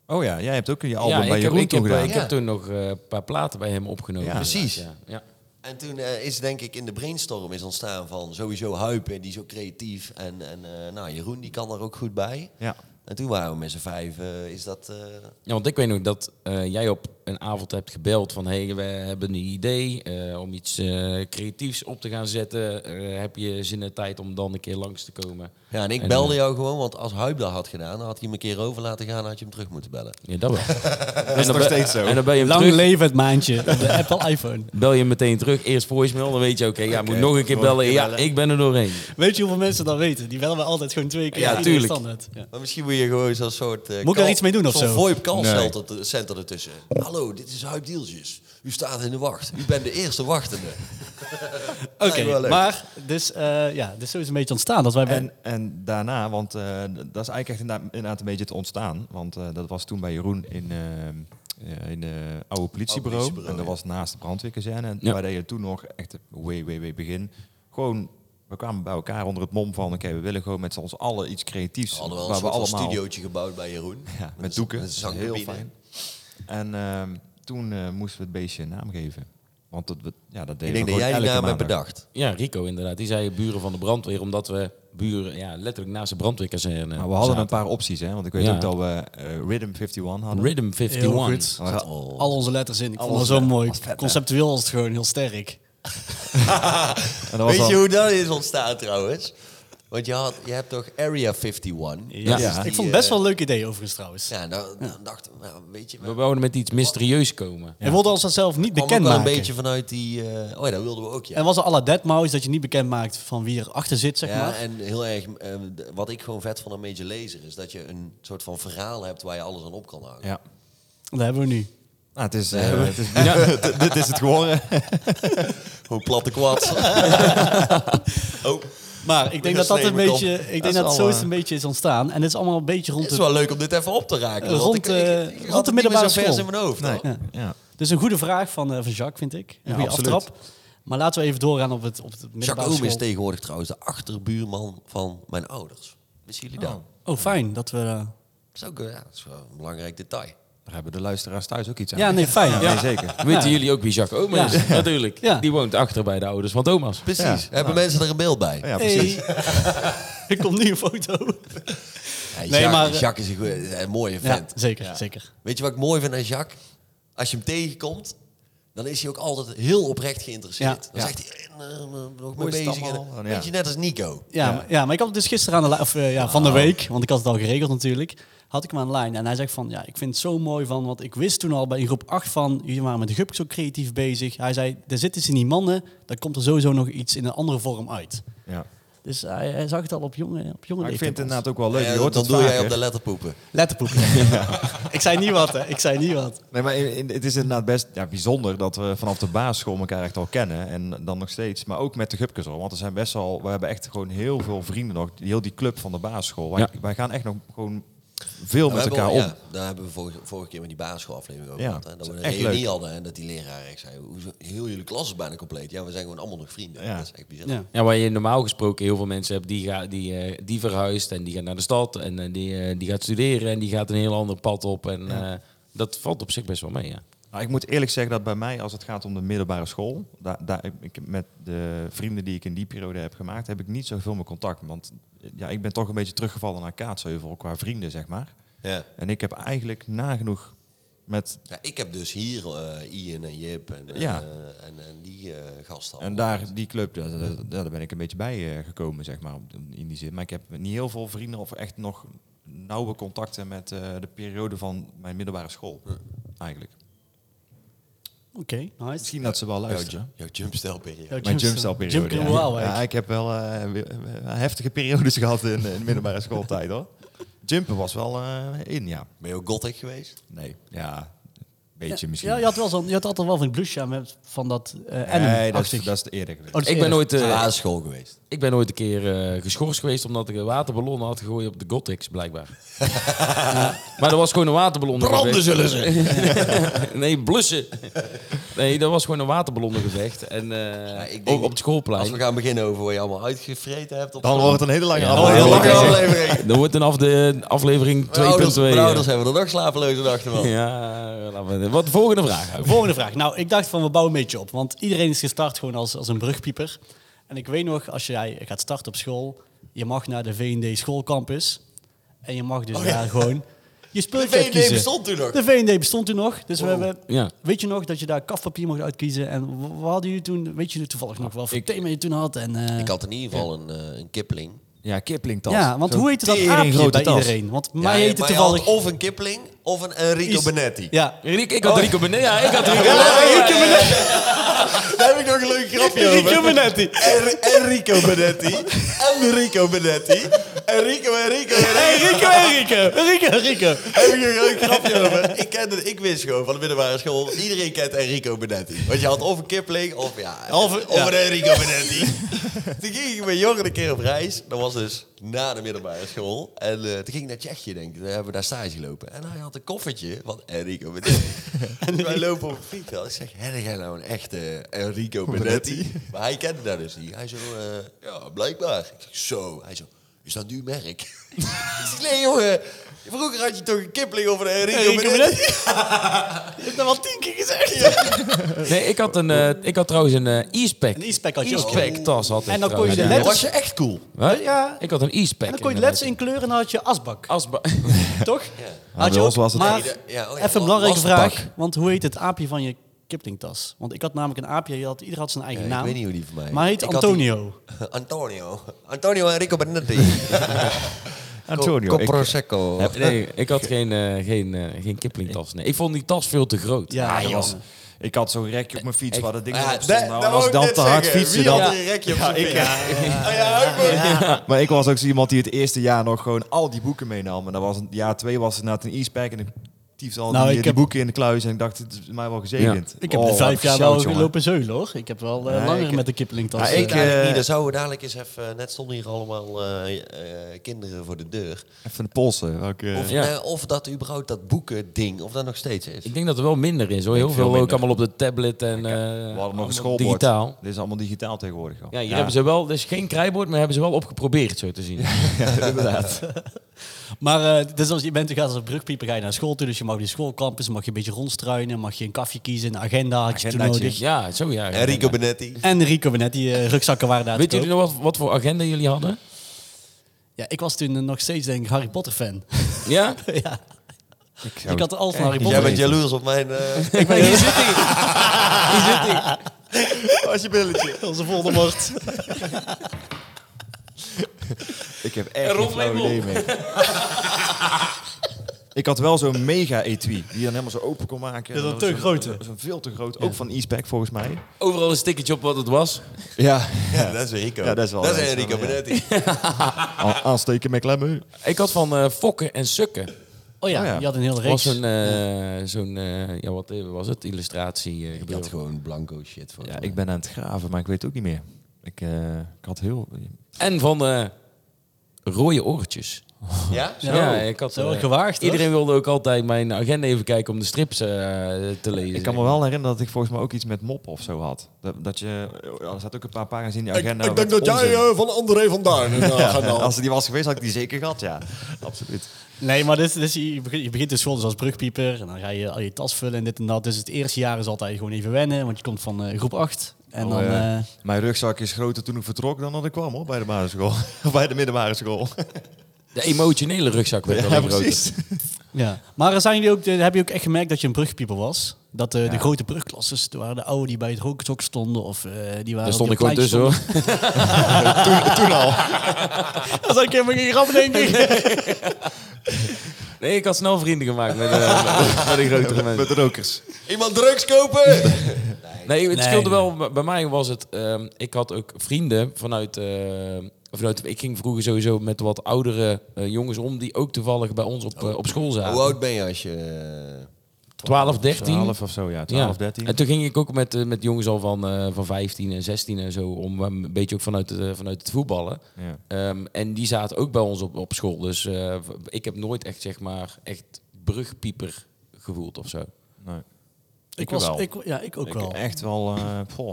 Speaker 5: Oh ja, jij hebt ook je album
Speaker 4: ja,
Speaker 5: bij
Speaker 4: ik, heb,
Speaker 5: Jeroen
Speaker 4: ik, heb,
Speaker 5: toen gedaan.
Speaker 4: ik
Speaker 2: Ja.
Speaker 4: heb toen nog eh, een paar platen bij hem opgenomen.
Speaker 5: Ja,
Speaker 4: inderdaad,
Speaker 2: precies.
Speaker 4: Ja. Ja.
Speaker 2: En toen eh, is denk ik in de brainstorm is ontstaan van sowieso Huipen, die is ook creatief. En, en eh, nou, Jeroen die kan er ook goed bij.
Speaker 5: Ja.
Speaker 2: En toen waren we met z'n vijf, eh, is dat... eh,
Speaker 4: Ja, want ik weet nog dat eh, jij op een avond hebt gebeld van... hey, we hebben een idee eh, om iets eh, creatiefs op te gaan zetten. Eh, heb je zin en tijd om dan een keer langs te komen?
Speaker 2: Ja, en ik
Speaker 4: En,
Speaker 2: belde
Speaker 4: eh,
Speaker 2: jou gewoon, want als Huip dat had gedaan, dan had hij hem een keer over laten gaan, dan had je hem terug moeten bellen.
Speaker 4: Ja, dat wel. dat
Speaker 5: nog steeds zo.
Speaker 4: En dan ben je hem
Speaker 3: Lang
Speaker 4: terug,
Speaker 3: leven het maandje. op De Apple iPhone.
Speaker 4: bel je hem meteen terug. Eerst voicemail, dan weet je, oké, ja, moet
Speaker 5: Oké,
Speaker 4: nog een keer
Speaker 5: nog een
Speaker 4: bellen.
Speaker 5: keer
Speaker 4: Ja,
Speaker 5: bellen.
Speaker 4: ik ben er doorheen.
Speaker 3: Weet je hoeveel mensen dat weten? Die bellen we altijd gewoon twee keer.
Speaker 4: Ja,
Speaker 3: Iedereen
Speaker 4: tuurlijk.
Speaker 3: standaard. Ja.
Speaker 2: Maar misschien moet je gewoon zo'n soort... eh,
Speaker 3: ik daar
Speaker 2: call-
Speaker 3: iets mee doen of
Speaker 2: Zo'n
Speaker 3: zo?
Speaker 2: VoIP callcenter center ertussen. Hallo, dit is Huip Dieltjes. U staat in de wacht. U bent de eerste wachtende.
Speaker 3: Oké,
Speaker 2: Lijkt me wel leuk.
Speaker 3: maar dus, eh, ja, dus zo is een beetje ontstaan. Dat wij bij-
Speaker 5: En, en daarna, want eh, d- dat is eigenlijk echt inderdaad, inderdaad een beetje het ontstaan. Want eh, dat was toen bij Jeroen in, ehm eh, in de oude politiebureau.
Speaker 2: politiebureau,
Speaker 5: en dat
Speaker 2: ja.
Speaker 5: was naast de brandweerkazerne. En
Speaker 4: Ja.
Speaker 5: waar deed je toen nog, echt way, way, way begin, gewoon... We kwamen bij elkaar onder het mom van, oké, we willen gewoon met z'n ons allen iets creatiefs.
Speaker 2: We hadden wel een
Speaker 5: waar
Speaker 2: soort
Speaker 5: we
Speaker 2: van
Speaker 5: allemaal
Speaker 2: studiootje gebouwd bij Jeroen.
Speaker 5: Ja, met
Speaker 2: een-
Speaker 5: doeken.
Speaker 2: Met een zangcabine.
Speaker 5: Heel fijn. En ehm, toen eh, moesten we het beestje een naam geven. Want dat, we- ja, dat deden
Speaker 2: Ik denk
Speaker 5: we
Speaker 2: dat
Speaker 5: gewoon
Speaker 2: jij die
Speaker 5: elke
Speaker 2: naam hebt
Speaker 5: maandag.
Speaker 2: bedacht.
Speaker 4: Ja, Rico inderdaad. Die zei buren van de brandweer, omdat we buren, ja, letterlijk naast de brandweerkazerne
Speaker 5: Maar we hadden
Speaker 4: zaten.
Speaker 5: een paar opties, hè. Want ik weet
Speaker 4: Ja.
Speaker 5: ook dat we eh, Rhythm 51 hadden.
Speaker 4: Rhythm
Speaker 3: Heel
Speaker 4: 51.
Speaker 3: goed.
Speaker 5: Maar we-
Speaker 3: al onze letters in. Ik vond
Speaker 5: Alles
Speaker 3: het zo
Speaker 5: vet.
Speaker 3: mooi.
Speaker 5: Was vet, hè?
Speaker 3: Conceptueel was het gewoon heel sterk.
Speaker 5: en dat was
Speaker 2: Weet je
Speaker 5: dan-
Speaker 2: hoe dat is ontstaan trouwens? Want je, had, je hebt toch Area 51?
Speaker 4: Ja.
Speaker 5: Ja.
Speaker 3: Ik vond het best wel een leuk idee overigens trouwens.
Speaker 2: eh, Ja, dan, dan dachten we, nou, weet je...
Speaker 4: We wouden met iets mysterieus komen.
Speaker 3: En wilden ons dat zelf niet
Speaker 2: kwam ook
Speaker 3: bekend
Speaker 2: wel
Speaker 3: maken.
Speaker 2: een beetje vanuit die... eh, oh ja, dat wilden we ook, ja.
Speaker 3: En was er à la Deadmau5 dat je niet bekend maakt van wie erachter zit, zeg
Speaker 2: Ja,
Speaker 3: maar.
Speaker 2: en heel erg, eh, d- wat ik gewoon vet van een Major Laser is dat je een soort van verhaal hebt waar je alles aan op kan hangen.
Speaker 5: Ja.
Speaker 3: Dat hebben we nu.
Speaker 5: Nou, het is, eh, het is, dit is het geworden.
Speaker 2: Hoe platte kwad. oh,
Speaker 3: Maar ik denk dat dat een
Speaker 2: Snee,
Speaker 3: beetje, ik
Speaker 2: kom. Dat
Speaker 3: denk
Speaker 2: is
Speaker 3: dat het
Speaker 2: al,
Speaker 3: zo is
Speaker 2: eh,
Speaker 3: een beetje is ontstaan. En het is allemaal een beetje rond
Speaker 2: het
Speaker 3: de...
Speaker 2: is wel leuk om dit even op te raken. want
Speaker 3: Rond,
Speaker 2: ik- ik- ik
Speaker 3: eh,
Speaker 2: had
Speaker 3: rond de
Speaker 2: het niet meer
Speaker 3: middelbare
Speaker 2: zo vers
Speaker 3: school.
Speaker 2: in mijn hoofd. hoor.
Speaker 5: Nee. Ja.
Speaker 3: Dus een goede vraag van, eh, van Jacques, vind ik. Een
Speaker 5: Ja,
Speaker 3: goede
Speaker 5: absoluut.
Speaker 3: aftrap. Maar laten we even doorgaan op het, op het middelbare
Speaker 2: Jacques Oom is
Speaker 3: school.
Speaker 2: tegenwoordig trouwens de achterbuurman van mijn ouders. Wisten jullie dat?
Speaker 3: Oh, fijn dat we... eh,
Speaker 2: Dat is ook eh, ja, dat is wel een belangrijk detail.
Speaker 5: Daar hebben de luisteraars thuis ook iets aan.
Speaker 3: ja, nee, fijn.
Speaker 5: Ja,
Speaker 3: Ja.
Speaker 5: nee, zeker.
Speaker 4: Weten jullie ook wie Jacques Oma is?
Speaker 3: Ja.
Speaker 4: Natuurlijk.
Speaker 3: Ja.
Speaker 4: Die woont achter bij de ouders van Thomas.
Speaker 2: Precies.
Speaker 5: Ja,
Speaker 2: Hebben mensen er een beeld bij?
Speaker 5: Ja, precies.
Speaker 3: Hey. er komt nu een foto.
Speaker 2: Ja, Jacques,
Speaker 3: Nee, maar-
Speaker 2: Jacques is een, goeie- een mooie
Speaker 3: Ja,
Speaker 2: vent.
Speaker 3: zeker, zeker.
Speaker 2: Weet je wat ik mooi vind aan Jacques? Als je hem tegenkomt, dan is hij ook altijd heel oprecht geïnteresseerd.
Speaker 3: Ja.
Speaker 2: Dan
Speaker 5: Ja.
Speaker 2: zegt hij, eh, eh, eh, nog mee
Speaker 5: Hoe is het
Speaker 2: bezig.
Speaker 5: allemaal? Oh,
Speaker 2: En-
Speaker 5: Ja.
Speaker 2: Weet je, net als Nico.
Speaker 3: Ja, maar- ja. maar ik had het dus gisteren aan de li- of, eh, ja, van de week, want ik had het al geregeld natuurlijk, had ik hem aan de lijn. En hij zegt van, ja, ik vind het zo mooi van, want ik wist toen al bij in groep 8 van, jullie waren met de GUP zo creatief bezig. Hij zei, er zitten ze in die mannen, daar komt er sowieso nog iets in een andere vorm uit.
Speaker 5: Ja.
Speaker 3: Dus hij, hij zag het al op jonge, op jonge
Speaker 5: Maar ik
Speaker 3: leeftijd
Speaker 5: vind het inderdaad
Speaker 3: pas.
Speaker 5: ook wel leuk.
Speaker 2: Ja,
Speaker 5: Je hoort
Speaker 2: Eh, dan
Speaker 5: het
Speaker 2: doe jij
Speaker 5: vaker.
Speaker 2: op de letterpoepen.
Speaker 3: Letterpoeken. ik zei niet wat, hè. Ik zei niet wat.
Speaker 5: Nee, maar in- in- het is inderdaad best ja, bijzonder dat we vanaf de basisschool elkaar echt al kennen. En dan nog steeds. Maar ook met de Gupkes al. Want er zijn best wel, we hebben echt gewoon heel veel vrienden nog. die- Heel die club van de basisschool. Wij,
Speaker 4: Ja.
Speaker 5: wij gaan echt nog gewoon veel
Speaker 2: Ja,
Speaker 5: met
Speaker 2: we hebben-
Speaker 5: elkaar om.
Speaker 2: Ja, daar hebben we vorige, vorige keer met die basisschoolaflevering over
Speaker 5: Ja,
Speaker 2: gehad. hè. Dat
Speaker 5: dat
Speaker 2: we
Speaker 5: is
Speaker 2: een
Speaker 5: echt
Speaker 2: reunie
Speaker 5: leuk.
Speaker 2: hadden en dat die leraar echt zei... "Hoezo- Heel jullie klas is bijna compleet. Ja, we zijn gewoon allemaal nog vrienden.
Speaker 5: Ja.
Speaker 2: Dat is echt bizar.
Speaker 3: Ja.
Speaker 4: Ja, waar je normaal gesproken heel veel mensen hebt die, ga, die, eh, die verhuist en die gaat naar de stad en eh, die, eh, die gaat studeren en die gaat een heel ander pad op. En eh, dat valt op zich best wel mee. Ja.
Speaker 5: Nou, ik moet eerlijk zeggen dat bij mij, als het gaat om de middelbare school, daar, daar, ik, met de vrienden die ik in die periode heb gemaakt, heb ik niet zoveel meer contact. Want eh, ja, ik ben toch een beetje teruggevallen naar Kaatsheuvel qua vrienden, zeg maar.
Speaker 2: Ja.
Speaker 5: En ik heb eigenlijk nagenoeg met...
Speaker 2: Ja, ik heb dus hier eh, Ian en Jip en, en,
Speaker 5: Ja.
Speaker 2: eh, en, en die eh gasten
Speaker 5: En
Speaker 2: allemaal.
Speaker 5: daar, die club, daar, daar- daar ben ik een beetje bij eh, gekomen, zeg maar, op- in die zin. Maar ik heb niet heel veel vrienden of echt nog nauwe contacten met eh, de periode van mijn middelbare school, eigenlijk.
Speaker 3: Oké, nice.
Speaker 5: Misschien dat ze wel
Speaker 2: Jouw,
Speaker 5: luisteren.
Speaker 2: ju- jouw jumpstijlperiode.
Speaker 3: Jouw
Speaker 5: Mijn
Speaker 3: jumpstel-
Speaker 5: jumpstyle periode.
Speaker 3: Jump
Speaker 5: ja.
Speaker 3: Waalwijk.
Speaker 5: Ja, ik heb wel eh, we- we- heftige periodes gehad in, in de middelbare schooltijd hoor. Jumpen was wel eh, in, ja.
Speaker 2: Ben je ook gothic geweest?
Speaker 5: Nee, ja, een beetje misschien.
Speaker 3: Ja, je had, wel zo'n, je had altijd wel van het blusje aan met- van dat eh
Speaker 5: nee, dat is,
Speaker 3: anim-achtig.
Speaker 5: dat is het eerder geweest.
Speaker 3: Oh, dat is
Speaker 4: Ik ben
Speaker 3: eerder.
Speaker 4: nooit, eh,
Speaker 2: basisschool geweest.
Speaker 4: ik ben nooit een keer eh, geschorst geweest omdat ik een waterballon had gegooid op de Gothics, blijkbaar. maar dat was gewoon een waterballon.
Speaker 2: Branden zullen ze.
Speaker 4: nee, blussen. Nee, dat was gewoon een waterballonnengevecht. En eh,
Speaker 2: Ja, ik denk-
Speaker 4: ook op het
Speaker 2: Als
Speaker 4: schoolplein.
Speaker 2: we gaan beginnen over wat je allemaal uitgevreten hebt. Op
Speaker 5: Dan wordt het een hele lange
Speaker 2: Oh, heel
Speaker 5: aflevering.
Speaker 2: lange aflevering.
Speaker 4: Dan wordt een af de aflevering 2.2.
Speaker 2: Mijn ouders, mijn
Speaker 4: eh.
Speaker 2: ouders hebben er nog slapeloze nachten van.
Speaker 4: Ja, laten we- wat de volgende vraag. Huip.
Speaker 3: Volgende vraag. Nou, ik dacht van we bouwen een beetje op. Want iedereen is gestart gewoon als, als een brugpieper. En ik weet nog, als jij gaat starten op school, je mag naar de VND schoolcampus. En je mag dus daar gewoon je speeltje
Speaker 2: VND
Speaker 3: kiezen.
Speaker 2: bestond toen nog.
Speaker 3: De VND bestond toen nog. Dus
Speaker 2: Oh,
Speaker 3: we hebben,
Speaker 4: Ja.
Speaker 3: weet je nog dat je daar kafpapier mocht uitkiezen? En w- wat hadden jullie toen, weet je toevallig nog wel voor
Speaker 4: Ik-
Speaker 3: thema je toen had? En, eh,
Speaker 2: Ah, Ik had in ieder geval een, eh, een kippeling.
Speaker 5: Ja, Kipling tas.
Speaker 3: ja, want
Speaker 5: Zo'n
Speaker 3: hoe heette dat
Speaker 5: tering
Speaker 3: aapje
Speaker 5: grote
Speaker 3: bij
Speaker 5: tas.
Speaker 3: iedereen? Want
Speaker 2: Ja,
Speaker 3: mij heette
Speaker 2: maar je
Speaker 3: toevallig...
Speaker 2: had Of een kippeling of een Enrico
Speaker 3: Is-
Speaker 2: Benetti.
Speaker 3: Ja,
Speaker 4: Rico, ik had
Speaker 2: Oh.
Speaker 4: Rico Benetti. Ja, ik had Rico
Speaker 2: Daar heb ik nog een leuk grapje over. Enrico Benetti. En, Enrico Benetti. Enrico Benetti. Enrico, Enrico, Enrico.
Speaker 3: Rico, Rico, Rico, Rico.
Speaker 2: Daar heb ik nog een leuk grapje over. Ik, kende, ik wist gewoon van de middelbare school, iedereen kent Enrico Benetti. Want je had of een kippeling of ja, of, een Enrico Benetti. toen ging ik met jongeren een keer op reis. Dat was dus na de middelbare school. En eh, toen ging ik naar Tsjechië, denk ik. Daar hebben we daar stage gelopen. En hij had een koffertje van Enrico Benetti. en wij lopen op het vliegveld. Ik zeg, heb jij nou een echte Enrico Benetti? maar hij kende dat dus niet. Hij zo, eh, ja, blijkbaar. Ik zeg, zo. Hij zo, is dat nu merk? ik zeg, nee jongen. Vroeger had je toch een kipling of een Enrico,
Speaker 3: Enrico
Speaker 2: Benetti?
Speaker 3: Je hebt dat wel tien keer gezegd.
Speaker 4: Nee, ik had, een, eh, ik had trouwens een eh, e-spec.
Speaker 3: Een e-spec had je ook.
Speaker 4: tas had ik
Speaker 3: En dan kon je
Speaker 4: trouwens.
Speaker 3: de
Speaker 2: Dan was
Speaker 3: letters
Speaker 2: je echt cool.
Speaker 4: Wat? Ja, ik had een e-spec.
Speaker 3: En dan kon je de letters inkleuren en dan had je asbak.
Speaker 4: Asba
Speaker 3: Toch?
Speaker 5: bij
Speaker 3: Had je ook,
Speaker 5: ons was het-
Speaker 3: maar
Speaker 2: Ah. Ja, ja, oh ja,
Speaker 3: even een belangrijke
Speaker 2: lastbak.
Speaker 3: vraag. Want hoe heet het aapje van je kiplingtas? Want ik had namelijk een aapje, je had, ieder had zijn eigen
Speaker 2: Ja, ik
Speaker 3: naam.
Speaker 2: weet niet hoe die van mij heet.
Speaker 3: Nou, Maar hij heet
Speaker 2: Ik had die-
Speaker 3: Antonio.
Speaker 2: Antonio. Antonio Enrico Benetti.
Speaker 5: Antonio.
Speaker 2: Co-
Speaker 5: ik-
Speaker 2: Coprosecco.
Speaker 4: Nee, ik had geen, eh, geen, eh, geen Kipling-tas. Nee. Ik vond die tas veel te groot.
Speaker 3: Ja,
Speaker 5: Ah,
Speaker 3: dat
Speaker 5: joh.
Speaker 3: was-
Speaker 5: Ik had zo'n rekje op mijn fiets waar dat ding
Speaker 2: Ja,
Speaker 5: op stond.
Speaker 2: dat-
Speaker 5: Nou,
Speaker 2: dat
Speaker 5: en als
Speaker 2: wou
Speaker 5: ik
Speaker 2: ik
Speaker 5: dan
Speaker 2: net
Speaker 5: te hard
Speaker 2: zeggen.
Speaker 5: fietsen,
Speaker 2: Wie
Speaker 5: dan...
Speaker 2: had er een rekje op zijn fiets? Ah, ja, ook wel.
Speaker 5: Maar ik was ook zo iemand die het eerste jaar nog gewoon al die boeken meenam. En dat was een, jaar twee was het na een e-spec en ik tiefde al
Speaker 3: Nou,
Speaker 5: die,
Speaker 3: ik
Speaker 5: die
Speaker 3: heb-
Speaker 5: boeken in de kluis. En ik dacht, het is mij wel gezegend.
Speaker 3: Ik heb
Speaker 5: Oh,
Speaker 3: de
Speaker 5: wat
Speaker 3: vijf jaar
Speaker 5: gesjouwd,
Speaker 3: wel
Speaker 5: jongen.
Speaker 3: gelopen zeulen hoor. Ik heb wel eh,
Speaker 5: Nee,
Speaker 3: langer
Speaker 5: ik-
Speaker 3: met de kiplingtas.
Speaker 5: Ja, ik,
Speaker 3: eh,
Speaker 2: Dadelijk
Speaker 5: eh,
Speaker 2: niet, dan zouden we dadelijk eens even... eh, Net stonden hier allemaal eh, eh, kinderen voor de deur.
Speaker 5: Even de polsen. Welke,
Speaker 2: Of,
Speaker 4: Ja.
Speaker 2: eh, of dat überhaupt dat boeken ding, of dat nog steeds is.
Speaker 4: Ik denk dat er wel minder is. Hoor. Heel
Speaker 5: veel
Speaker 4: veel ook
Speaker 5: minder.
Speaker 4: allemaal op de tablet en eh,
Speaker 5: we hadden nog
Speaker 4: allemaal
Speaker 5: een schoolbord.
Speaker 4: digitaal.
Speaker 5: Dit is allemaal digitaal tegenwoordig. joh.
Speaker 4: Ja, hier hebben ze wel, dus geen krijbord, maar hebben ze wel opgeprobeerd zo te zien.
Speaker 3: Maar eh dus als je bent, je gaat als een brugpieper ga je naar school toe. Dus je mag die schoolcampus, mag je een beetje rondstruinen, mag je een kafje kiezen, een agenda had je toen
Speaker 5: Agendaatje.
Speaker 3: nodig.
Speaker 4: Ja, zo ja.
Speaker 2: Enrico Benetti.
Speaker 3: En Rico net, die eh, rugzakken waren daar te
Speaker 4: Weet
Speaker 3: koop.
Speaker 4: jullie nog wat, wat voor agenda jullie hadden?
Speaker 3: Ja, ik was toen eh, nog steeds denk ik Harry Potter fan.
Speaker 4: Ja?
Speaker 3: ja. Ik had al van Harry
Speaker 5: echt niet
Speaker 3: Potter.
Speaker 2: Jij bent jaloers op mijn... eh,
Speaker 4: Hier zit hij. Hier zit hij.
Speaker 2: als je billetje.
Speaker 3: Onze Voldemort.
Speaker 5: Ik heb echt
Speaker 4: Ron
Speaker 5: geen flauw
Speaker 4: Label.
Speaker 5: idee mee. Ik had wel zo'n mega etui, die je dan helemaal zo open kon maken.
Speaker 3: Dat is
Speaker 5: En
Speaker 3: een
Speaker 5: dan
Speaker 3: te
Speaker 5: zo'n-
Speaker 3: grote.
Speaker 5: Zo'n veel te groot, ook van e volgens mij.
Speaker 4: Overal een stickertje op wat het was.
Speaker 5: Ja,
Speaker 2: Ja, dat is Enrico.
Speaker 5: Ja, dat is wel-
Speaker 2: Dat
Speaker 5: dat is
Speaker 2: Enrico
Speaker 5: wel, ja.
Speaker 2: Benetti.
Speaker 5: A- aansteken met klemmen.
Speaker 4: Ik had van eh, Fokken en Sukken.
Speaker 3: Oh ja,
Speaker 5: Oh ja.
Speaker 3: je had een hele
Speaker 4: was
Speaker 3: reeks.
Speaker 4: zo'n, eh, zo'n eh, ja, wat was het? Illustratie eh,
Speaker 2: Ik had
Speaker 4: gebeuren.
Speaker 2: gewoon blanco shit voor
Speaker 5: Ja, ik ben aan het graven, maar ik weet het ook niet meer. Ik, eh, ik had heel...
Speaker 4: En van eh, rode oortjes.
Speaker 2: Ja?
Speaker 3: Ja.
Speaker 4: Ja, ik had
Speaker 3: Oh, Zo,
Speaker 4: eh,
Speaker 3: gewaagd, hoor.
Speaker 4: Iedereen wilde ook altijd mijn agenda even kijken om de strips eh, te lezen.
Speaker 5: Ik kan me wel herinneren dat ik volgens mij ook iets met mop of zo had. Dat, dat je... Er zaten ook een paar pagina's in die agenda met nou, onzin.
Speaker 2: eh, van André eh, van Duin een
Speaker 5: Ja, als die was geweest, had ik die zeker gehad, ja. Absoluut.
Speaker 3: Nee, maar dus, dus je, begint, je begint dus gewoon dus als brugpieper. En dan ga je al je tas vullen en dit en dat. Dus het eerste jaar is altijd gewoon even wennen. Want je komt van eh, groep 8. En
Speaker 5: Oh,
Speaker 3: dan...
Speaker 5: ja.
Speaker 3: eh,
Speaker 5: Mijn rugzak is groter toen ik vertrok dan dat ik kwam hoor, bij de basisschool. Of bij de middelbare school.
Speaker 4: De emotionele rugzak werd wel
Speaker 5: Ja,
Speaker 4: weer groter.
Speaker 5: precies.
Speaker 3: ja. Maar eh, zijn jullie ook, eh, heb je ook echt gemerkt dat je een brugpieper was? Dat eh, de grote brugklasses, er waren de oude die bij het rookzok stonden. Of eh, die waren
Speaker 4: Daar
Speaker 3: op
Speaker 4: stond
Speaker 3: de
Speaker 4: ik gewoon
Speaker 3: pleintjes
Speaker 4: tussen hoor.
Speaker 3: stonden. Dat is ook helemaal geen grap, denk ik.
Speaker 4: Nee, ik had snel vrienden gemaakt met, eh, met de grotere mensen.
Speaker 5: Met de rokers.
Speaker 2: Iemand drugs kopen?
Speaker 4: Nee, het
Speaker 3: Nee,
Speaker 4: scheelde
Speaker 3: nee.
Speaker 4: wel. Bij- Bij mij was het. ehm, ik had ook vrienden vanuit, eh, vanuit. Ik ging vroeger sowieso met wat oudere eh, jongens om. die ook toevallig bij ons
Speaker 3: Oh.
Speaker 4: op, eh, op school zaten.
Speaker 2: Hoe oud ben je als je... eh,
Speaker 4: 12, 13.
Speaker 5: 12 of zo, ja. 12, 13.
Speaker 4: En toen ging ik ook met, eh, met jongens al van, eh, van 15 en 16 en zo. om eh, een beetje ook vanuit, het, eh, vanuit het voetballen.
Speaker 5: Ja.
Speaker 4: Ehm, en die zaten ook bij ons op, op school. Dus eh, ik heb nooit echt, zeg maar, echt brugpieper gevoeld of zo.
Speaker 5: Nee. Nou, Ik
Speaker 3: was,
Speaker 5: wel.
Speaker 3: Ik, ja, ik ook
Speaker 5: Ik
Speaker 3: wel.
Speaker 5: echt wel, eh poh,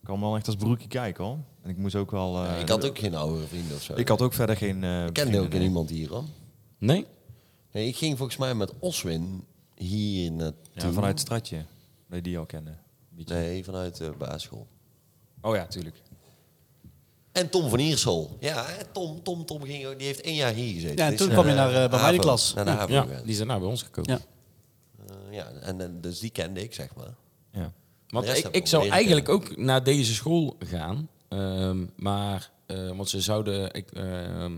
Speaker 5: ik kwam wel echt als broekje kijken hoor. En ik moest ook wel... eh,
Speaker 2: ik had ook geen oudere vrienden of zo.
Speaker 5: ik had ook verder geen... eh,
Speaker 2: Ik kende
Speaker 5: vrienden,
Speaker 2: ook
Speaker 5: nee.
Speaker 2: iemand hier, hoor.
Speaker 4: Nee?
Speaker 2: Nee, ik ging volgens mij met Oswin hier naartoe.
Speaker 5: Ja, vanuit het stratje. Dat je die al kende. Een beetje.
Speaker 2: Nee, vanuit de basisschool.
Speaker 5: Oh ja, tuurlijk.
Speaker 2: En Tom van Iersel. Ja, hè, Tom, Tom, Tom ging, ook- die heeft één jaar hier gezeten.
Speaker 3: Ja, en
Speaker 2: Is
Speaker 3: toen kwam je naar, eh, bij mij de
Speaker 2: HAVO,
Speaker 3: klas.
Speaker 2: Naar de
Speaker 3: Ja.
Speaker 2: HAVO
Speaker 4: Ja,
Speaker 2: gegaan.
Speaker 4: die zijn nou bij ons gekomen.
Speaker 3: Ja.
Speaker 2: Eh, ja, en, en dus die kende ik, zeg maar.
Speaker 5: Ja.
Speaker 4: Want
Speaker 2: De rest
Speaker 4: ik,
Speaker 2: hebben
Speaker 4: ik
Speaker 2: we
Speaker 4: zou
Speaker 2: leren kennen.
Speaker 4: eigenlijk ook naar deze school gaan. ehm, maar, eh, want ze zouden... Ik, ehm,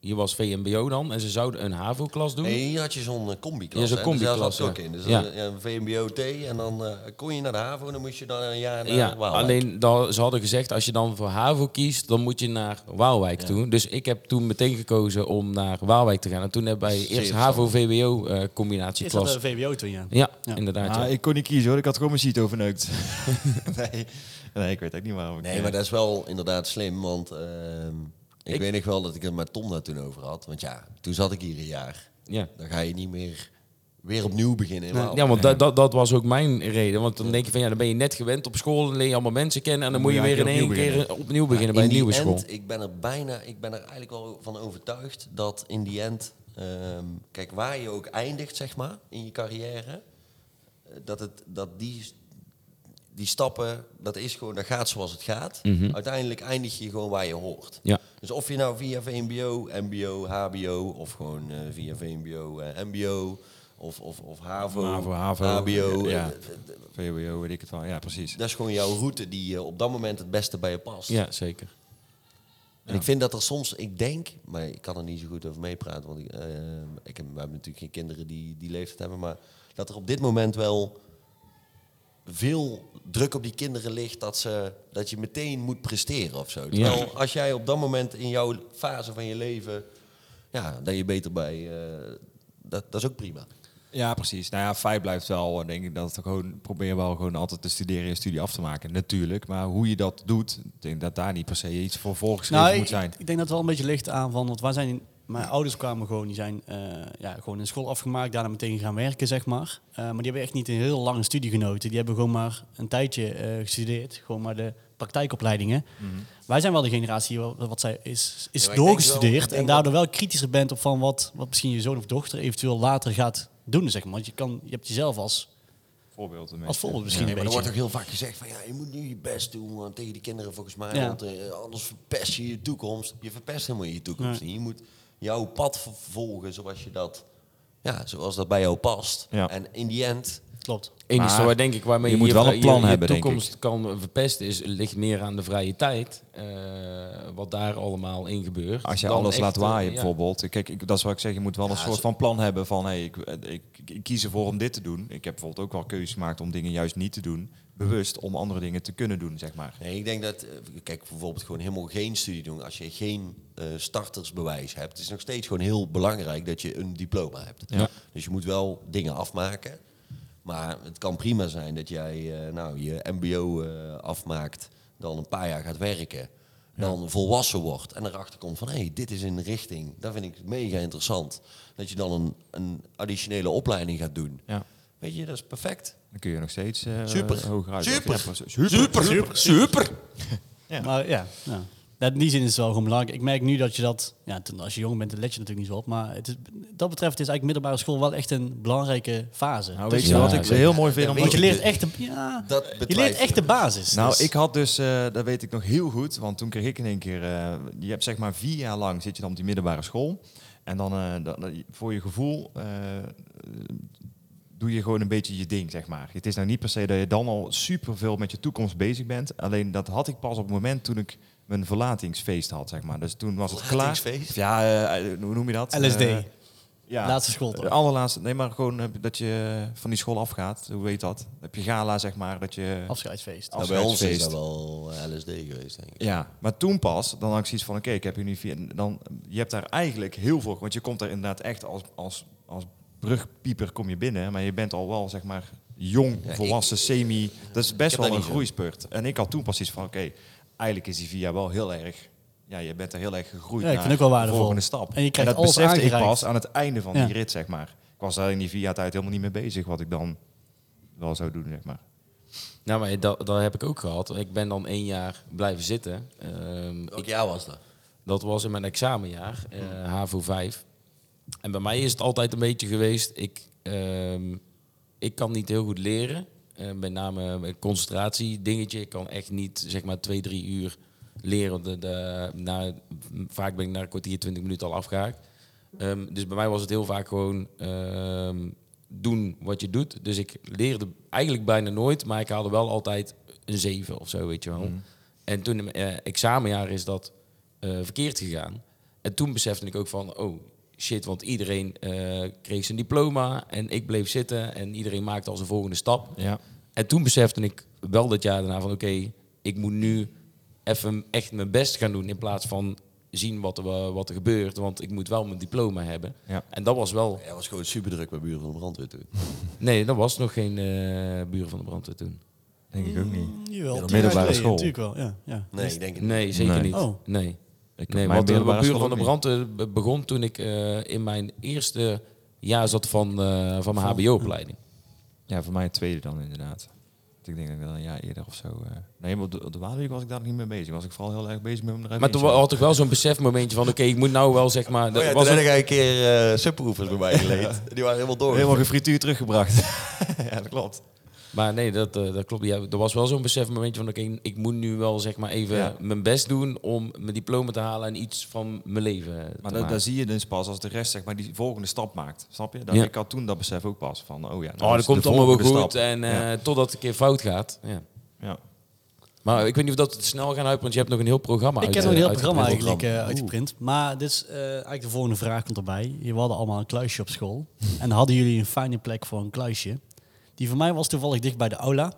Speaker 4: hier was VMBO dan. En ze zouden een HAVO-klas doen.
Speaker 2: Nee, hier had je zo'n eh, combi-klas.
Speaker 4: Ja, zo'n
Speaker 2: hè, dus daar
Speaker 4: combi-klas,
Speaker 2: zat ik
Speaker 4: ja.
Speaker 2: ook in. Dus
Speaker 4: Ja.
Speaker 2: eh, ja, een VMBO-T en dan eh, kon je naar de HAVO en dan moest je dan een jaar naar
Speaker 4: Ja,
Speaker 2: Waalwijk.
Speaker 4: alleen dan, ze hadden gezegd, als je dan voor HAVO kiest, dan moet je naar Waalwijk toe. Dus ik heb toen meteen gekozen om naar Waalwijk te gaan. En toen hebben wij eerst
Speaker 3: Is dat de
Speaker 4: HAVO-VWO-combinatieklas.
Speaker 3: VWO toen, ja?
Speaker 4: eh, ja,
Speaker 3: Ja.
Speaker 4: inderdaad.
Speaker 5: Ah,
Speaker 4: ja.
Speaker 5: ik kon niet kiezen hoor, ik had gewoon mijn sheet overneukt. nee. nee, ik weet ook niet waarom ik... eh,
Speaker 2: Nee, maar dat is wel inderdaad slim, want ehm, ik,
Speaker 4: Ik-
Speaker 2: weet nog wel dat ik het met Tom daar toen over had. Want ja, toen zat ik hier een jaar.
Speaker 4: Ja.
Speaker 2: Dan ga je niet meer weer opnieuw beginnen. in Waalwijk.
Speaker 4: Ja, want dat, dat, dat was ook mijn reden. Want dan denk je van ja, dan ben je net gewend op school, dan leer je allemaal mensen kennen. En dan moet je weer in één
Speaker 5: eigenlijk opnieuw
Speaker 4: keer opnieuw beginnen bij
Speaker 2: In
Speaker 4: een
Speaker 2: die
Speaker 4: nieuwe
Speaker 2: end,
Speaker 4: school.
Speaker 2: Ik ben er bijna, ik ben er eigenlijk wel van overtuigd dat in die end, ehm, kijk waar je ook eindigt, zeg maar, in je carrière, eh, dat, het, dat die, die stappen, dat is gewoon, dat gaat zoals het gaat. Uiteindelijk eindig je gewoon waar je hoort.
Speaker 4: Mhm. Ja.
Speaker 2: Dus of je nou via VMBO, MBO, HBO of gewoon eh, via VMBO, eh, MBO of, of, of HAVO,
Speaker 5: HAVO, HAVO,
Speaker 2: HBO,
Speaker 5: ja.
Speaker 2: eh, eh, eh,
Speaker 5: VWO, weet ik het wel. Ja, precies.
Speaker 2: dat is gewoon jouw route die eh, op dat moment het beste bij je past.
Speaker 4: ja, zeker.
Speaker 2: En ik vind dat er soms, ik denk, maar ik kan er niet zo goed over meepraten, want ik, eh, ik heb, we hebben natuurlijk geen kinderen die die leeftijd hebben, maar dat er op dit moment wel veel druk op die kinderen ligt dat, ze, dat je meteen moet presteren of zo. Terwijl als jij op dat moment in jouw fase van je leven, ja, dat je beter bij, eh, dat, dat is ook prima.
Speaker 5: Ja, precies. Nou ja, feit blijft wel, eh, denk ik, dat het gewoon, probeer wel gewoon altijd te studeren en je studie af te maken. Natuurlijk, maar hoe je dat doet, ik denk dat daar niet per se iets voor voorgeschreven
Speaker 3: Nou,
Speaker 5: moet
Speaker 3: ik,
Speaker 5: zijn.
Speaker 3: ik denk dat het wel een beetje licht aan van, want wij zijn, mijn ouders kwamen gewoon, die zijn eh, ja, gewoon in school afgemaakt, daarna meteen gaan werken, zeg maar. Eh, maar die hebben echt niet een heel lange studie genoten. Die hebben gewoon maar een tijdje eh, gestudeerd, gewoon maar de praktijkopleidingen. Wij zijn wel de generatie wat, wat zij is, is
Speaker 2: Mhm. Ja, maar ik denk wel-
Speaker 3: doorgestudeerd
Speaker 2: ik denk
Speaker 3: en daardoor wel kritischer bent op van wat, wat misschien je zoon of dochter eventueel later gaat doen, zeg maar. Want je, kan, je hebt jezelf als,
Speaker 5: Voorbeeld ermee.
Speaker 3: als voorbeeld misschien
Speaker 2: Nee,
Speaker 3: een
Speaker 2: maar er
Speaker 3: beetje.
Speaker 2: wordt ook heel vaak gezegd van ja, je moet nu je best doen want tegen die kinderen volgens mij.
Speaker 3: Ja.
Speaker 2: Want eh, anders verpest je je toekomst. Je verpest helemaal je toekomst niet. Je moet jouw pad vervolgen zoals je dat, ja, zoals dat bij jou past.
Speaker 5: Ja.
Speaker 2: En in die end,
Speaker 3: Klopt.
Speaker 4: enige
Speaker 5: Maar
Speaker 4: waar denk ik waarmee
Speaker 5: je moet wel een plan
Speaker 4: je,
Speaker 5: hebben,
Speaker 4: je
Speaker 5: denk ik.
Speaker 4: toekomst kan verpesten is ligt meer aan de vrije tijd. eh, wat daar allemaal in gebeurt.
Speaker 5: Als je
Speaker 4: Dan
Speaker 5: alles
Speaker 4: echt,
Speaker 5: laat
Speaker 4: eh,
Speaker 5: waaien
Speaker 4: ja.
Speaker 5: bijvoorbeeld. Kijk, ik, dat is wat ik zeg. Je moet wel een soort van plan hebben van... Hey, ik, eh, ik, ik kies ervoor om dit te doen. Ik heb bijvoorbeeld ook wel keuzes gemaakt om dingen juist niet te doen. Bewust om andere dingen te kunnen doen, zeg maar.
Speaker 2: nee, ik denk dat, eh, kijk bijvoorbeeld gewoon helemaal geen studie doen als je geen eh, startersbewijs hebt. Het is nog steeds gewoon heel belangrijk dat je een diploma hebt.
Speaker 4: Ja.
Speaker 2: Dus je moet wel dingen afmaken. Maar het kan prima zijn dat jij eh, nou, je MBO eh, afmaakt, dan een paar jaar gaat werken, dan volwassen wordt en erachter komt van hé, hey, dit is een richting, dat vind ik mega interessant. Dat je dan een, een additionele opleiding gaat doen.
Speaker 5: Ja.
Speaker 2: Weet je, dat is perfect.
Speaker 5: Dan kun je nog steeds eh
Speaker 2: Super.
Speaker 5: hoger uit.
Speaker 2: Super.
Speaker 5: Ja, precies. Super.
Speaker 2: super. super.
Speaker 5: Ja.
Speaker 3: Maar ja, ja. Dat in die zin is het wel gewoon belangrijk. Ik merk nu dat je dat, ja, toen, als je jong bent, dan let je natuurlijk niet zo op. Maar het is, dat betreft is eigenlijk middelbare school wel echt een belangrijke fase.
Speaker 5: Nou,
Speaker 3: Dus-
Speaker 5: weet je wat ik heel mooi vind?
Speaker 2: dat
Speaker 5: Om
Speaker 2: weet
Speaker 3: want je
Speaker 2: ik
Speaker 3: leert
Speaker 2: niet.
Speaker 3: echt de, ja,
Speaker 2: Dat
Speaker 3: je
Speaker 2: betwijfel
Speaker 3: leert
Speaker 2: ik
Speaker 3: echt de
Speaker 2: dus.
Speaker 3: basis.
Speaker 5: Nou,
Speaker 3: Dus-
Speaker 5: ik had dus, eh, dat weet ik nog heel goed, want toen kreeg ik in één keer, eh, je hebt zeg maar vier jaar lang zit je dan op die middelbare school. En dan, eh, dan- dan- voor je gevoel eh, doe je gewoon een beetje je ding, zeg maar. Het is nou niet per se dat je dan al superveel met je toekomst bezig bent. Alleen dat had ik pas op het moment toen ik mijn verlatingsfeest had, zeg maar. Dus toen was het klaar.
Speaker 2: Verlatingsfeest?
Speaker 5: Ja, eh, hoe noem je dat?
Speaker 3: LSD.
Speaker 5: Eh, ja.
Speaker 3: Laatste schooldag.
Speaker 5: De allerlaatste. Nee, maar gewoon eh, dat je van die school afgaat. Hoe weet dat? Heb je gala, zeg maar, dat je...
Speaker 3: Afscheidsfeest.
Speaker 5: Af-
Speaker 2: bij ons is
Speaker 5: Afscheidsfeest.
Speaker 2: dat wel eh, LSD geweest, denk ik.
Speaker 5: Ja, maar toen pas, dan had ik zoiets van, oké, ik heb hier nu vier, dan, je hebt daar eigenlijk heel veel, want je komt daar inderdaad echt als, als, als brugpieper kom je binnen, maar je bent al wel, zeg maar, jong,
Speaker 2: Ja,
Speaker 5: volwassen, semi, dat is
Speaker 2: heb
Speaker 5: best
Speaker 2: dat
Speaker 5: wel een
Speaker 2: niet zo.
Speaker 5: groeispurt. En ik had toen pas iets van, oké, eigenlijk is die vier jaar wel heel erg, ja, je bent er heel erg gegroeid
Speaker 3: Ja, ik
Speaker 5: naar
Speaker 3: vind het ook wel
Speaker 5: de
Speaker 3: waardevol.
Speaker 5: volgende stap.
Speaker 3: En je krijgt
Speaker 5: dat
Speaker 3: alles
Speaker 5: besefte ik
Speaker 3: aangereikt.
Speaker 5: pas aan het einde van
Speaker 3: Ja.
Speaker 5: die rit, zeg maar. Ik was daar in die vier jaar tijd helemaal niet mee bezig, wat ik dan wel zou doen, zeg maar.
Speaker 4: Nou, maar dat, dat heb ik ook gehad. Ik ben dan één jaar blijven zitten. Ehm,
Speaker 2: Welk jaar was dat?
Speaker 4: Dat was in mijn examenjaar, eh, HAVO 5. En bij mij is het altijd een beetje geweest, ik, ehm, ik kan niet heel goed leren. Eh, met name een concentratiedingetje. Ik kan echt niet, zeg maar, twee, drie uur leren. De, de, na, vaak ben ik na een kwartier, twintig minuten al afgehaakt. Ehm, dus bij mij was het heel vaak gewoon ehm, doen wat je doet. Dus ik leerde eigenlijk bijna nooit, maar ik haalde wel altijd een zeven of zo, weet je wel. En toen in mijn eh, examenjaar is dat eh, verkeerd gegaan. En toen besefte ik ook van, oh shit, want iedereen eh, kreeg zijn diploma en ik bleef zitten en iedereen maakte al zijn volgende stap.
Speaker 5: Ja.
Speaker 4: En toen besefte ik wel dat jaar daarna van oké, ik moet nu even echt mijn best gaan doen in plaats van zien wat er, eh, wat er gebeurt, want ik moet wel mijn diploma hebben.
Speaker 5: Ja.
Speaker 4: En dat was wel,
Speaker 2: Hij was gewoon super druk bij buren van de brandweer toen.
Speaker 4: nee, dat was nog geen eh buren van de brandweer toen.
Speaker 5: Denk ik ook niet.
Speaker 3: Jawel,
Speaker 5: Middelbare
Speaker 3: tien jaar geleden,
Speaker 5: school.
Speaker 3: Natuurlijk wel, ja. ja.
Speaker 2: Nee, ik denk het niet.
Speaker 4: Nee, zeker
Speaker 5: Nee.
Speaker 4: niet.
Speaker 3: Oh.
Speaker 4: Nee.
Speaker 5: Ik
Speaker 4: Nee,
Speaker 5: mijn
Speaker 4: want de
Speaker 5: middelbare
Speaker 4: buren
Speaker 5: school
Speaker 4: van de
Speaker 5: ook
Speaker 4: brand eh, be- begon toen ik eh, in mijn eerste jaar zat van, eh, van mijn HBO-opleiding.
Speaker 5: niet. Ja, voor mij het tweede dan inderdaad. Want Ik denk dat ik wel een jaar eerder of zo... eh, Nee, maar op de, op de Waalwijk was ik daar nog niet mee bezig. Was ik vooral heel erg bezig met hem eruit.
Speaker 4: Maar toen wa- had ik wel zo'n besefmomentje van, oké, ik moet nou wel zeg maar...
Speaker 2: Oh ja,
Speaker 4: dat
Speaker 2: toen
Speaker 4: was
Speaker 2: heb
Speaker 4: ook-
Speaker 2: ik een keer eh subwoofers bij mij geleend. Die waren helemaal door.
Speaker 5: Helemaal gefrituurd teruggebracht. ja, dat klopt.
Speaker 4: maar nee, dat, eh, dat klopt. Ja, er was wel zo'n besefmomentje van, oké, ik moet nu wel zeg maar even
Speaker 5: Ja.
Speaker 4: mijn best doen om mijn diploma te halen en iets van mijn leven eh, te
Speaker 5: Maar dat,
Speaker 4: maken.
Speaker 5: dat zie je dus pas als de rest zeg maar, die volgende stap maakt. Snap je? Dat,
Speaker 4: Ja.
Speaker 5: Ik had toen dat besef ook pas van, oh ja, nou
Speaker 4: Oh, dat
Speaker 5: is de
Speaker 4: komt allemaal wel
Speaker 5: volgende
Speaker 4: goed
Speaker 5: stap.
Speaker 4: en eh,
Speaker 5: ja.
Speaker 4: totdat het een keer fout gaat. Ja.
Speaker 5: Ja.
Speaker 4: Maar ik weet niet of dat we het snel gaan uit, want je hebt nog een heel programma
Speaker 3: Ik
Speaker 4: uit,
Speaker 3: ken
Speaker 4: eh,
Speaker 3: nog een heel
Speaker 4: uitgeprint.
Speaker 3: programma eigenlijk eh, uitgeprint. Maar dit is, eh, eigenlijk de volgende vraag komt erbij. We hadden allemaal een kluisje op school. en dan hadden jullie een fijne plek voor een kluisje. Die voor mij was toevallig dicht bij de aula.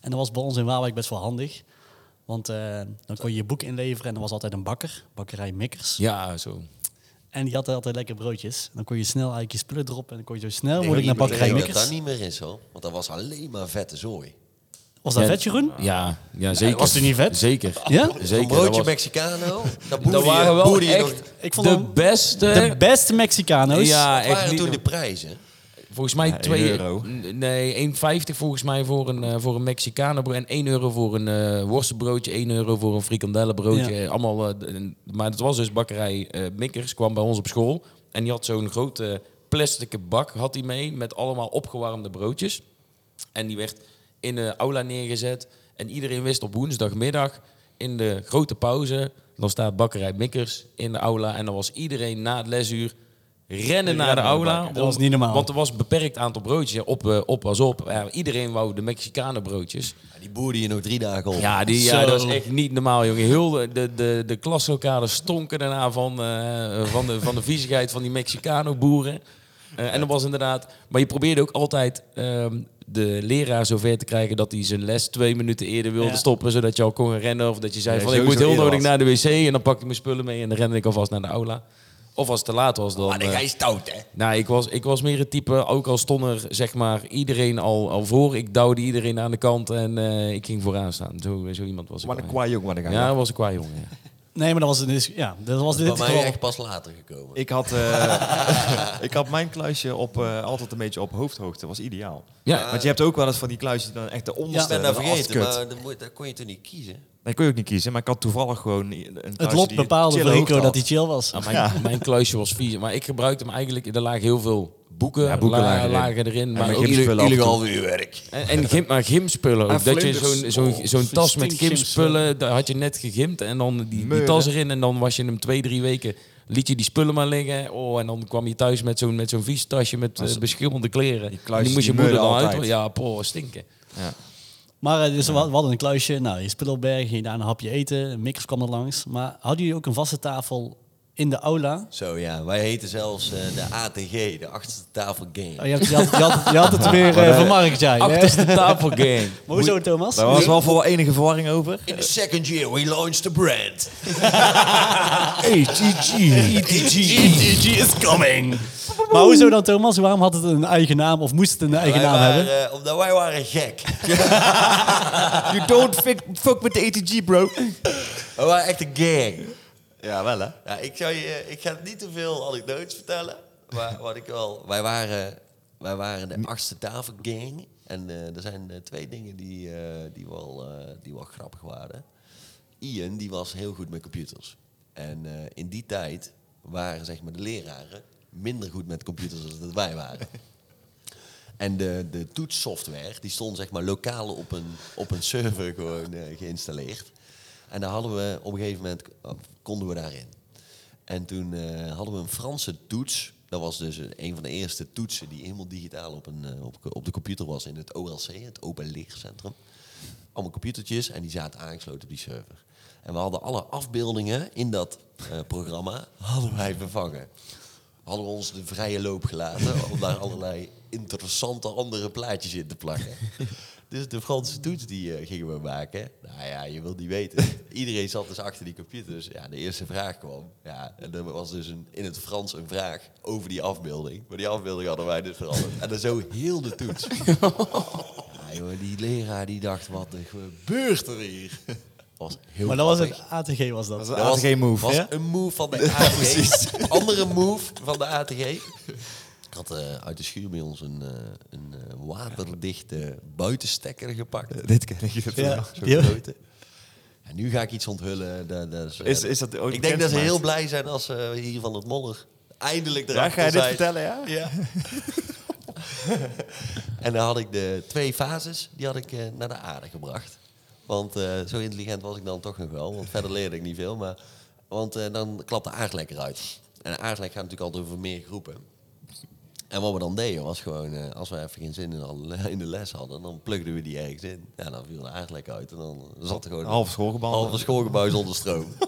Speaker 3: En dat was bij ons in Waalwijk best wel handig. Want eh, dan kon je je boek inleveren en er was altijd een bakker. Bakkerij Mikkers.
Speaker 4: Ja, zo.
Speaker 3: En die had altijd lekker broodjes. Dan kon je snel eigenlijk je spullen droppen. En dan kon je zo snel
Speaker 2: Ik
Speaker 3: mogelijk
Speaker 2: denk
Speaker 3: naar
Speaker 2: dat
Speaker 3: bakkerij
Speaker 2: dat dat
Speaker 3: Mikkers.
Speaker 2: niet meer is hoor. Want dat was alleen maar vette zooi.
Speaker 3: Was dat
Speaker 4: Ja,
Speaker 3: vet, Jeroen?
Speaker 4: Ja, ja zeker.
Speaker 3: was toen niet vet?
Speaker 4: Zeker.
Speaker 3: Ja?
Speaker 4: Zeker.
Speaker 2: Een broodje
Speaker 4: dat was-
Speaker 2: Mexicano. Dat,
Speaker 4: dat
Speaker 2: boerde
Speaker 4: waren
Speaker 2: je,
Speaker 4: wel
Speaker 2: boerde je nog-
Speaker 4: echt
Speaker 3: Ik vond
Speaker 4: de
Speaker 3: hem-
Speaker 4: beste.
Speaker 3: De beste Mexicano's.
Speaker 4: ja,
Speaker 2: Wat
Speaker 4: echt
Speaker 2: waren
Speaker 4: niet
Speaker 2: toen de
Speaker 4: normaal.
Speaker 2: prijzen?
Speaker 4: Volgens mij 2
Speaker 5: euro.
Speaker 4: Nee, 1,50 volgens mij voor een, eh, voor een Mexicanenbrood. En 1 euro voor een eh, worstenbroodje. 1 euro voor een frikandellenbroodje.
Speaker 3: Ja.
Speaker 4: Eh, Allemaal, eh, d- en- maar het was dus bakkerij eh, Mikkers. Kwam bij ons op school. En die had zo'n grote plastic bak had hij mee. Met allemaal opgewarmde broodjes. En die werd in de aula neergezet. En iedereen wist op woensdagmiddag in de grote pauze. Dan staat bakkerij Mikkers in de aula. En dan was iedereen na het lesuur rennen naar de aula.
Speaker 3: Dat was niet normaal.
Speaker 4: Want er was een beperkt aantal broodjes. Ja, Op, eh, op was op. Ja, iedereen wou de Mexicanen broodjes.
Speaker 2: Ja, die boerde je nog drie dagen op.
Speaker 4: Ja, die, ja, dat
Speaker 3: Zo.
Speaker 4: was echt niet normaal, jongen. Heel de, de, de, de klaslokalen stonken daarna van, eh, van, de, van de viezigheid van die Mexicano-boeren. Eh, en dat was inderdaad... Maar je probeerde ook altijd ehm, de leraar zover te krijgen... dat hij zijn les twee minuten eerder wilde
Speaker 3: Ja.
Speaker 4: stoppen... zodat je al kon gaan rennen. Of dat je zei
Speaker 5: Ja,
Speaker 4: van, ik moet
Speaker 5: sowieso
Speaker 4: heel
Speaker 5: eerder
Speaker 4: nodig
Speaker 5: was.
Speaker 4: naar de wc... en dan pakte ik mijn spullen mee en dan rende ik alvast naar de aula. Of als het te laat was, dan...
Speaker 2: Maar
Speaker 4: eh,
Speaker 2: hij is stout, hè?
Speaker 4: nou, ik was, ik was meer het type, ook al stond er zeg maar iedereen al, al voor. Ik duwde iedereen aan de kant en eh, ik ging vooraan staan. Zo, zo iemand was ik.
Speaker 5: Wat een
Speaker 4: wel.
Speaker 5: kwaai jongen, wat een
Speaker 4: Ja, dat was ik qua jongen. ja.
Speaker 3: Nee, maar dat was, dus, ja, dat was dit
Speaker 2: Bij mij
Speaker 3: geval.
Speaker 2: echt pas later gekomen.
Speaker 5: Ik had, eh, ik had mijn kluisje op, eh, altijd een beetje op hoofdhoogte. was ideaal.
Speaker 4: Ja.
Speaker 5: Want je hebt ook wel eens van die kluisjes die dan echt de
Speaker 2: Ik
Speaker 5: onderste.
Speaker 2: ben
Speaker 5: Ja,
Speaker 2: dat nou vergeten, maar dat, moet- dat kon je toen niet kiezen.
Speaker 5: Dat kon je ook niet kiezen. Maar ik had toevallig gewoon een kluisje
Speaker 3: Het lot
Speaker 5: die
Speaker 3: bepaalde
Speaker 5: chille
Speaker 3: voor
Speaker 5: hoogte
Speaker 3: Rico dat
Speaker 5: had.
Speaker 3: hij chill was.
Speaker 4: Ah, mijn, mijn kluisje was vies. Maar ik gebruikte hem eigenlijk, er lagen heel veel boeken,
Speaker 5: Ja, boeken
Speaker 4: la-
Speaker 5: lagen erin.
Speaker 4: erin.
Speaker 5: mijn
Speaker 4: Maar ook,
Speaker 5: gymspullen. af en toe.
Speaker 2: Illegaal uurwerk.
Speaker 4: en, en gym, maar gymspullen ook.
Speaker 5: En
Speaker 4: Dat je
Speaker 5: vlinders.
Speaker 4: zo'n zo'n zo'n
Speaker 3: Oh,
Speaker 4: tas met
Speaker 3: stinkt
Speaker 4: gymspullen,
Speaker 3: gymspullen.
Speaker 4: daar had je net gegimd. En dan die, die
Speaker 5: Meuren.
Speaker 4: tas erin en dan was je hem twee, drie weken... Liet je die spullen maar liggen. Oh, en dan kwam je thuis met zo'n met zo'n vies tasje met eh, beschimmelde kleren.
Speaker 5: die kluisjes,
Speaker 4: en die moest je
Speaker 5: die
Speaker 4: moeder dan
Speaker 5: meulen
Speaker 4: uit.
Speaker 5: altijd.
Speaker 4: Ja, poh, stinken.
Speaker 3: Maar eh, dus we we hadden een kluisje, nou, je spullen opbergen, ging daar een hapje eten, Mikkers kwam er langs. Maar hadden jullie ook een vaste tafel in de aula?
Speaker 2: Zo ja, wij heten zelfs eh, de ATG, de achterste tafel game.
Speaker 3: Oh, je, hebt, je, had, je, had, je had het weer eh, vermarkt, jij. hè?
Speaker 4: Achterste tafelgang.
Speaker 3: Maar hoezo, Thomas?
Speaker 5: Daar was wel voor wel enige verwarring over.
Speaker 2: In the second year we launched the brand. E
Speaker 5: ATG.
Speaker 3: E
Speaker 2: ETG.
Speaker 3: is coming! Maar hoezo dan, Thomas? Waarom had het een eigen naam of moest het een eigen
Speaker 2: Wij
Speaker 3: naam
Speaker 2: waren,
Speaker 3: hebben?
Speaker 2: eh, omdat wij waren gek.
Speaker 5: You don't fuck, fuck with the ATG, bro.
Speaker 2: We waren echt een gang.
Speaker 5: Ja, wel hè.
Speaker 2: eh, Ja, ik, zou je, ik ga niet te veel anekdotes vertellen. Maar wat ik wel... Wij waren Wij waren de achtste tafelgang. En eh, er zijn eh, twee dingen die, eh, die, wel, eh, die wel grappig waren. Ian die was heel goed met computers. En eh, in die tijd waren zeg maar, de leraren minder goed met computers dan dat wij waren. En de, de toetssoftware, die stond zeg maar lokaal op een, op een server gewoon eh, geïnstalleerd. En daar hadden we op een gegeven moment, eh, konden we daarin. En toen eh, hadden we een Franse toets. Dat was dus een- een van de eerste toetsen die helemaal digitaal op, een, eh, op, op de computer was in het OLC, het Open Leercentrum. Allemaal computertjes en die zaten aangesloten op die server. En we hadden alle afbeeldingen in dat eh, programma hadden wij vervangen hadden we ons de vrije loop gelaten om daar allerlei interessante andere plaatjes in te plakken. Dus de Franse toets die eh, gingen we maken. Nou ja, je wilt niet weten. Iedereen zat dus achter die computers. Ja, de eerste vraag kwam. Ja, en er was dus een, in het Frans een vraag over die afbeelding. Maar die afbeelding hadden wij dus veranderd. En dan zo heel de toets. Ja, jongen, die leraar die dacht, wat er gebeurt er hier? Was heel
Speaker 3: Maar dat was
Speaker 2: grappig.
Speaker 3: het ATG, was dat.
Speaker 5: Dat is een
Speaker 2: Dat was-
Speaker 5: ATG move.
Speaker 2: was
Speaker 5: Ja?
Speaker 2: een move van de ATG. Een andere move van de ATG. Ik had eh, uit de schuur bij ons een, eh, een eh, waterdichte buitenstekker gepakt.
Speaker 5: Dit ken ik. Dat
Speaker 3: Ja.
Speaker 2: Zo'n
Speaker 3: Die-
Speaker 2: grote. En nu ga ik iets onthullen. Dat, dat is, eh,
Speaker 5: Is- is dat ooit
Speaker 2: ik denk dat ze
Speaker 5: bekendgemaakt?
Speaker 2: heel blij zijn als ze hier van het mollig eindelijk erachter
Speaker 5: Ja, ga je
Speaker 2: zijn.
Speaker 5: dit vertellen, ja?
Speaker 2: En dan had ik de twee fases, die had ik eh, naar de aarde gebracht. Want eh, zo intelligent was ik dan toch nog wel. Want verder leerde ik niet veel. Maar, want eh, dan klapt de aardlek eruit. En de aardlek gaat natuurlijk altijd over meer groepen. En wat we dan deden was gewoon, eh, als we even geen zin in, hadden- in de les hadden, dan plukten we die ergens in. Ja, dan viel de aardlek uit en dan zat er gewoon
Speaker 5: Een half schoolgebouw.
Speaker 2: halve schoolgebouw zonder stroom.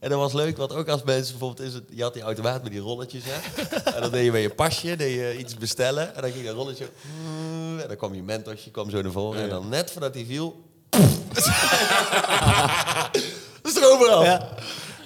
Speaker 2: En dat was leuk, want ook als mensen bijvoorbeeld... Is het, je had die automaat met die rolletjes, hè? en dan deed je met je pasje deed je iets bestellen. En dan ging dat rolletje... En dan kwam je mentortje, kwam zo naar voren. En dan net voordat hij viel... de stroom eraf.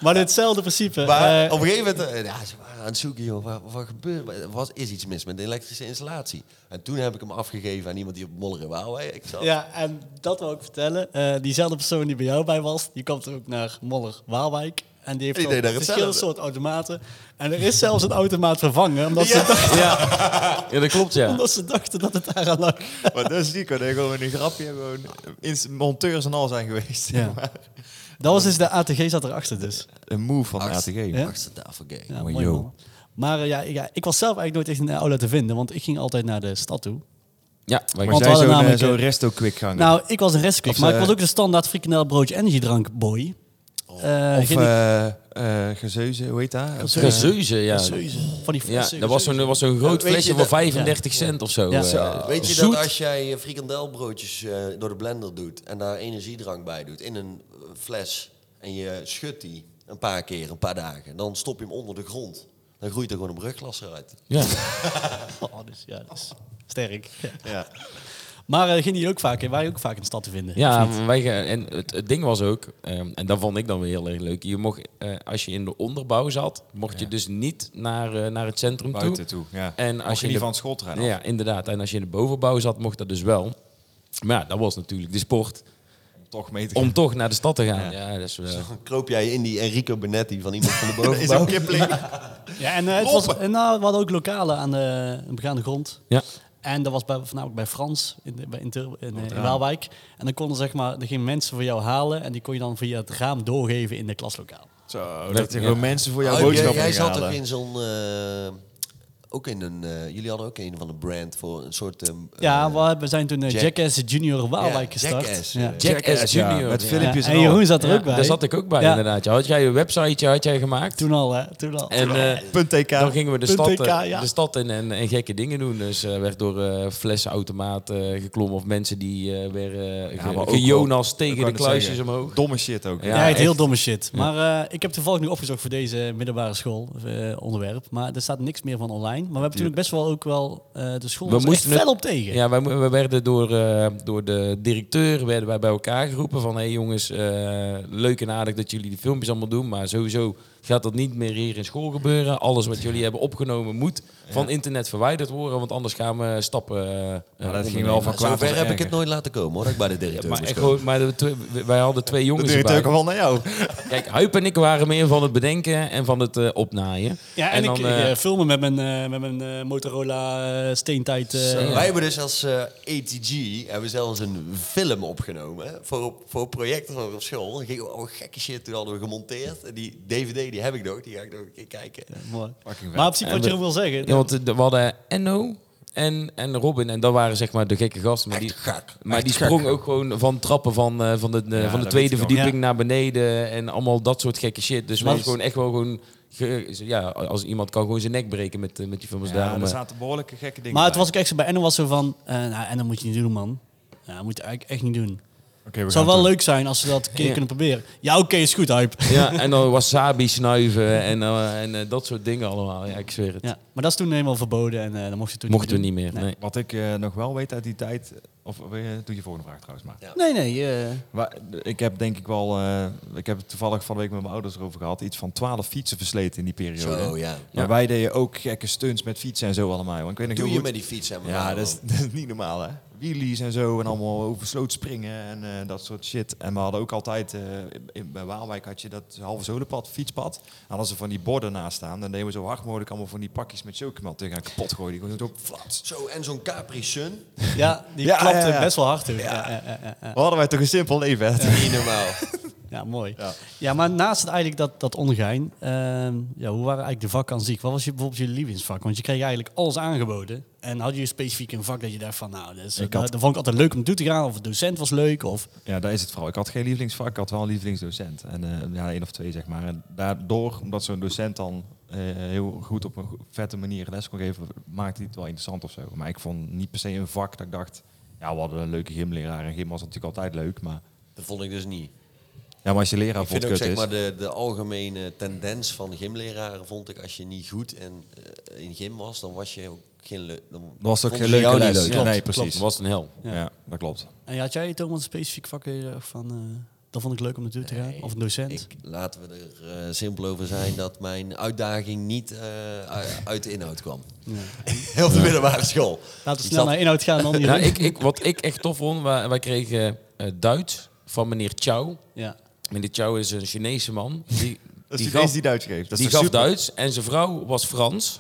Speaker 3: Maar hetzelfde principe.
Speaker 2: Maar
Speaker 3: eh,
Speaker 2: op een gegeven moment... eh, Ja, ze waren aan het zoeken, joh. Wat, wat gebeurt er? Er was- is iets mis met de elektrische installatie. En toen heb ik hem afgegeven aan iemand die op Moller en Waalwijk zat.
Speaker 3: Ja, en dat wil ik vertellen. Eh, diezelfde persoon die bij jou bij was, die komt ook naar Moller Waalwijk. En die heeft
Speaker 2: Die
Speaker 3: al
Speaker 2: deed daar
Speaker 3: verschillende
Speaker 2: hetzelfde.
Speaker 3: soorten automaten. En er is zelfs een automaat vervangen, omdat, ze, dachten,
Speaker 4: Ja, dat klopt, ja.
Speaker 3: omdat ze dachten dat het daaraan lag.
Speaker 5: Maar dat is ziek hoor, dat je gewoon een grapje gewoon ins- monteurs en al zijn geweest.
Speaker 3: Ja.
Speaker 5: Maar
Speaker 3: Dat was dus de ATG zat erachter dus.
Speaker 5: Een move van de
Speaker 2: Achtste-
Speaker 5: ATG.
Speaker 3: Ja.
Speaker 2: achtste tafelgame.
Speaker 4: Oh,
Speaker 3: Ja, mooi man. Maar eh, ja, ik- ja, ik was zelf eigenlijk nooit echt een aula te vinden, want ik ging altijd naar de stad toe.
Speaker 4: Ja,
Speaker 5: Maar
Speaker 4: wij-
Speaker 3: Want we
Speaker 5: zij
Speaker 3: hadden
Speaker 5: zo'n eh,
Speaker 3: namelijk,
Speaker 5: zo'n
Speaker 3: eh,
Speaker 5: resto quick gang.
Speaker 3: Nou, ik was een restkik,
Speaker 5: Of,
Speaker 3: maar ik
Speaker 5: eh,
Speaker 3: was ook de standaard frikandel broodje energiedrank boy. Eh,
Speaker 5: of
Speaker 3: ging ik-
Speaker 5: eh, eh, gezeuze, hoe heet dat?
Speaker 4: Gezeuze, ja.
Speaker 3: van die
Speaker 4: Ja, dat was zo'n, dat was zo'n
Speaker 2: weet
Speaker 4: groot
Speaker 2: je
Speaker 4: flesje
Speaker 2: dat-
Speaker 4: voor 35 cent of zo.
Speaker 3: Ja.
Speaker 4: eh.
Speaker 3: Zo.
Speaker 2: Weet je
Speaker 4: Zoet.
Speaker 2: dat als jij eh, frikandelbroodjes eh, door de blender doet en daar energiedrank bij doet in een eh, fles en je schudt die een paar keer, een paar dagen, dan stop je hem onder de grond. Dan groeit er gewoon een brugklasser uit.
Speaker 4: Ja.
Speaker 3: Oh, dus, ja, dat is sterk.
Speaker 5: Ja.
Speaker 3: Maar eh, gingen die ook vaak, waren ook vaak in de stad te vinden?
Speaker 4: Ja, wij, ge- en het, het ding was ook, ehm, en dat vond ik dan weer heel erg leuk. Je mocht, eh, als je in de onderbouw zat, mocht je dus niet naar, eh, naar het centrum
Speaker 5: Buiten toe, ja.
Speaker 4: En
Speaker 5: Mocht
Speaker 4: als je
Speaker 5: je
Speaker 4: in
Speaker 5: niet
Speaker 4: de-
Speaker 5: van school trekken.
Speaker 4: Ja, inderdaad. En als je in de bovenbouw zat, mocht dat dus wel. Maar ja, dat was natuurlijk de sport
Speaker 5: Toch mee te
Speaker 4: om toch naar de stad te gaan. Ja, dat is wel.
Speaker 2: Dan kroop jij in die Enrico Benetti van iemand van de
Speaker 5: is ook
Speaker 2: bovenbouw.
Speaker 5: Kipling.
Speaker 3: Ja, en eh, het was, en, nou, we hadden ook lokalen aan de een begaande grond.
Speaker 4: Ja.
Speaker 3: En dat was bij, voornamelijk bij Frans in, de- bij- in, Tur- in, eh, in Waalwijk. En dan konden zeg maar, er gingen mensen voor jou halen en die kon je dan via het raam doorgeven in de klaslokaal.
Speaker 5: Zo,
Speaker 4: dat
Speaker 5: dat
Speaker 4: er
Speaker 5: er
Speaker 4: gewoon
Speaker 5: mensen voor jouw
Speaker 2: Oh, jij,
Speaker 5: boodschappen
Speaker 2: jij zat toch in zo'n... eh, ook in een... eh, jullie hadden ook een van een brand voor een soort... eh,
Speaker 3: ja,
Speaker 2: eh,
Speaker 3: we hebben- zijn toen eh,
Speaker 2: Jack-
Speaker 3: Jackass Junior Waalwijk
Speaker 2: Ja,
Speaker 3: gestart.
Speaker 2: Jackass,
Speaker 3: ja.
Speaker 2: eh,
Speaker 4: Jackass Junior.
Speaker 5: Met
Speaker 4: Ja.
Speaker 5: filmpjes
Speaker 3: Ja,
Speaker 5: en
Speaker 3: en
Speaker 5: al.
Speaker 3: Jeroen zat er
Speaker 4: Ja,
Speaker 3: ook bij.
Speaker 4: daar zat ik ook bij,
Speaker 3: Ja.
Speaker 4: inderdaad. Ja, had jij een websiteje had jij gemaakt?
Speaker 3: Toen al, hè? Toen al.
Speaker 4: En eh,
Speaker 5: .tk.
Speaker 4: dan gingen we de stad,
Speaker 3: .tk,
Speaker 4: eh,
Speaker 3: ja.
Speaker 4: de stad in en, en gekke dingen doen. Dus eh, werd door eh flessenautomaten eh, geklommen of mensen die eh werden eh,
Speaker 5: Ja,
Speaker 4: ge-
Speaker 5: maar ook
Speaker 4: gejonas
Speaker 5: wel- ik
Speaker 4: tegen
Speaker 5: wou
Speaker 4: de
Speaker 5: net
Speaker 4: kluisjes
Speaker 5: zeggen,
Speaker 4: omhoog.
Speaker 5: Domme shit ook.
Speaker 4: Ja.
Speaker 3: Ja, het heel
Speaker 4: echt.
Speaker 3: domme shit. Maar eh, ik heb toevallig nu opgezocht voor deze middelbare school eh, onderwerp. Maar er staat niks meer van online. Maar we hebben toen ook best wel ook wel eh, de school
Speaker 4: We
Speaker 3: was er echt
Speaker 4: moesten het-
Speaker 3: fel op tegen.
Speaker 4: Ja, wij, mo- we werden door, eh, door de directeur werden wij bij elkaar geroepen van... hé hey jongens, eh, leuk en aardig dat jullie die filmpjes allemaal doen... maar sowieso gaat dat niet meer hier in school gebeuren. Alles wat jullie hebben opgenomen moet van internet verwijderd worden, want anders gaan we stappen. eh,
Speaker 5: dat
Speaker 4: ondernemen.
Speaker 5: ging wel van
Speaker 4: Ja,
Speaker 5: kwaad
Speaker 2: Zover
Speaker 5: tot
Speaker 2: heb ik
Speaker 5: erger.
Speaker 2: het nooit laten komen hoor, dat ik bij de directeur
Speaker 4: Maar,
Speaker 2: moest
Speaker 4: echt
Speaker 2: komen.
Speaker 4: gewoon- maar de twee- wij hadden twee
Speaker 5: Dat
Speaker 4: jongens
Speaker 5: duurt
Speaker 4: erbij.
Speaker 5: ook wel naar jou.
Speaker 4: Kijk, Huip en ik waren meer van het bedenken en van het eh, opnaaien.
Speaker 3: Ja, en, ik
Speaker 4: eh,
Speaker 3: eh, filmen met mijn, eh, met mijn eh, Motorola eh, steentijd. eh,
Speaker 4: Zo. Ja.
Speaker 2: Wij hebben dus als eh, ATG hebben we zelfs een film opgenomen voor, voor projecten van op school. Dan gingen we al gekke shit toen hadden we gemonteerd. En die DVD die heb ik nog, die ga ik nog een keer kijken.
Speaker 3: mooi. Maar op zich wat
Speaker 4: En
Speaker 3: je
Speaker 4: we-
Speaker 3: wil zeggen.
Speaker 4: Ja, want eh, we hadden Enno en, en Robin. En dat waren zeg maar de gekke gasten. Maar
Speaker 2: Echt
Speaker 4: die,
Speaker 2: gek.
Speaker 4: maar
Speaker 2: Echt
Speaker 4: die
Speaker 2: gek.
Speaker 4: sprongen ook gewoon van trappen van, eh, van de, eh, van de
Speaker 5: dat weet
Speaker 4: tweede
Speaker 5: ik nog.
Speaker 4: verdieping
Speaker 3: Ja.
Speaker 4: naar beneden. En allemaal dat soort gekke shit. Dus we
Speaker 3: Maar-
Speaker 4: hadden gewoon echt wel gewoon... ge- ja, als iemand kan gewoon zijn nek breken met, eh, met die films.
Speaker 5: Ja,
Speaker 4: daarom,
Speaker 5: er
Speaker 4: eh,
Speaker 5: zaten behoorlijke gekke dingen
Speaker 3: Maar het
Speaker 5: bij.
Speaker 3: was ook echt zo bij Enno was zo van, eh nou Enno moet je niet doen man. Ja, dat moet je eigenlijk echt niet doen.
Speaker 5: Oké, we
Speaker 3: Het zou
Speaker 5: gaan
Speaker 3: wel
Speaker 5: terug.
Speaker 3: leuk zijn als we dat een keer
Speaker 4: Ja.
Speaker 3: kunnen proberen. Ja, oké, is goed, hype.
Speaker 4: ja, en dan wasabi snuiven en, eh, en eh, dat soort dingen allemaal. Ja, ik zweer het.
Speaker 3: Ja, maar dat is toen helemaal verboden en eh dat mocht je toen
Speaker 4: Mochten we
Speaker 3: doen.
Speaker 4: niet meer. Nee.
Speaker 5: Wat ik eh, nog wel weet uit die tijd... eh, Of wil je- doe je volgende vraag trouwens maar.
Speaker 3: Nee, nee.
Speaker 4: Ah,
Speaker 3: eh,
Speaker 5: Maar ik heb denk ik wel, eh, ik heb het toevallig van de week met mijn ouders erover gehad, iets van 12 fietsen versleten in die periode.
Speaker 2: Zo, ja.
Speaker 5: Maar wij deden ook gekke stunts met fietsen en zo allemaal. Joh. Ik weet nog
Speaker 2: Doe
Speaker 5: heel
Speaker 2: je
Speaker 5: goed-
Speaker 2: met die fiets en
Speaker 5: Ja, dat is, dat is niet normaal hè. Wheelies en zo en allemaal over sloot springen en eh, dat soort shit. En we hadden ook altijd, eh, in, bij Waalwijk had je dat halve zolenpad, fietspad. En hadden ze van die borden naast staan, dan deden we zo hard mogelijk allemaal van die pakjes met chocomel tegen elkaar kapot gooien. Die gewoon zo flats.
Speaker 2: Zo, en zo'n Capri Sun.
Speaker 3: ja, die
Speaker 5: Ja,
Speaker 3: klapte
Speaker 5: ja, ja.
Speaker 3: best wel hard toen. Ja, ja, ja, ja, ja.
Speaker 5: We hadden wij toch een simpel leven hè.
Speaker 2: Niet normaal.
Speaker 3: Ja, mooi. Ja.
Speaker 5: Ja.
Speaker 3: maar naast het eigenlijk dat, dat ongein, ehm, ja, hoe waren eigenlijk de vakken aan zich? Wat was je, bijvoorbeeld je lievelingsvak? Want je kreeg eigenlijk alles aangeboden. En had je specifiek een vak dat je dacht van, nou, dat, is,
Speaker 5: Ik
Speaker 3: dat,
Speaker 5: had-
Speaker 3: dat vond ik altijd leuk om naartoe te gaan. Of de docent was leuk. Of,
Speaker 5: Ja, daar is het vooral. Ik had geen lievelingsvak, ik had wel een lievelingsdocent. En eh, ja, één of twee zeg maar. En daardoor, omdat zo'n docent dan eh, heel goed op een go- vette manier les kon geven, maakte hij het wel interessant of zo. Maar ik vond niet per se een vak dat ik dacht, ja, we hadden een leuke gymleraar. En gym was natuurlijk altijd leuk, maar...
Speaker 2: Dat vond ik dus niet.
Speaker 5: Ja, maar als je leraar
Speaker 2: Ik vind
Speaker 5: vond
Speaker 2: ook
Speaker 5: kut
Speaker 2: zeg
Speaker 5: is...
Speaker 2: maar de, de algemene tendens van gymleraren vond ik als je niet goed en, eh, in gym was, dan was je ook geen leuk. Dan
Speaker 5: was het
Speaker 2: vonden
Speaker 5: ook geen
Speaker 2: ze jou
Speaker 5: leuke
Speaker 2: niet
Speaker 5: les.
Speaker 2: leuk.
Speaker 5: Ja,
Speaker 4: Klopt,
Speaker 5: nee,
Speaker 4: klopt.
Speaker 5: precies.
Speaker 4: was een hel.
Speaker 5: ja. dat klopt.
Speaker 3: en had jij Thomas een specifiek vak dat je dacht van, eh, dat vond ik leuk om naartoe te gaan? of een docent?
Speaker 2: Ik, laten we er eh, simpel over zijn dat mijn uitdaging niet eh, u- uit de inhoud kwam. Heel de middelbare school.
Speaker 3: Laten we
Speaker 2: Ik
Speaker 3: snel
Speaker 2: zat-
Speaker 3: naar inhoud gaan dan.
Speaker 4: Nou,
Speaker 3: hierin.
Speaker 4: ik, ik, wat ik echt tof vond, wij, wij kregen eh, Duits van meneer Chow.
Speaker 3: ja.
Speaker 4: Meneer Chow is een Chinese man. Die,
Speaker 5: Dat
Speaker 4: die
Speaker 5: is
Speaker 4: gaf,
Speaker 5: die Duits geeft. Dat is
Speaker 4: die gaf Duits en zijn vrouw was Frans.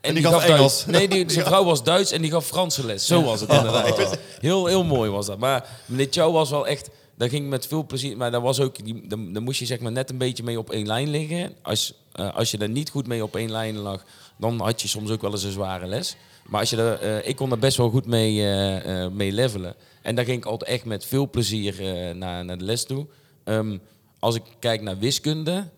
Speaker 4: En,
Speaker 5: die gaf Engels.
Speaker 4: Duits. Nee, die, zijn vrouw was Duits en die gaf Franse les. Zo was het
Speaker 5: Oh.
Speaker 4: inderdaad. Heel, heel mooi was dat. Maar meneer Chow was wel echt... Daar ging ik met veel plezier... Maar daar, was ook, die, daar, daar moest je zeg maar net een beetje mee op één lijn liggen. Als, eh, als je daar niet goed mee op één lijn lag... dan had je soms ook wel eens een zware les. Maar als je daar, eh, ik kon daar best wel goed mee, eh, eh, mee levelen. En daar ging ik altijd echt met veel plezier eh, naar, naar de les toe. Ehm, als ik kijk naar wiskunde...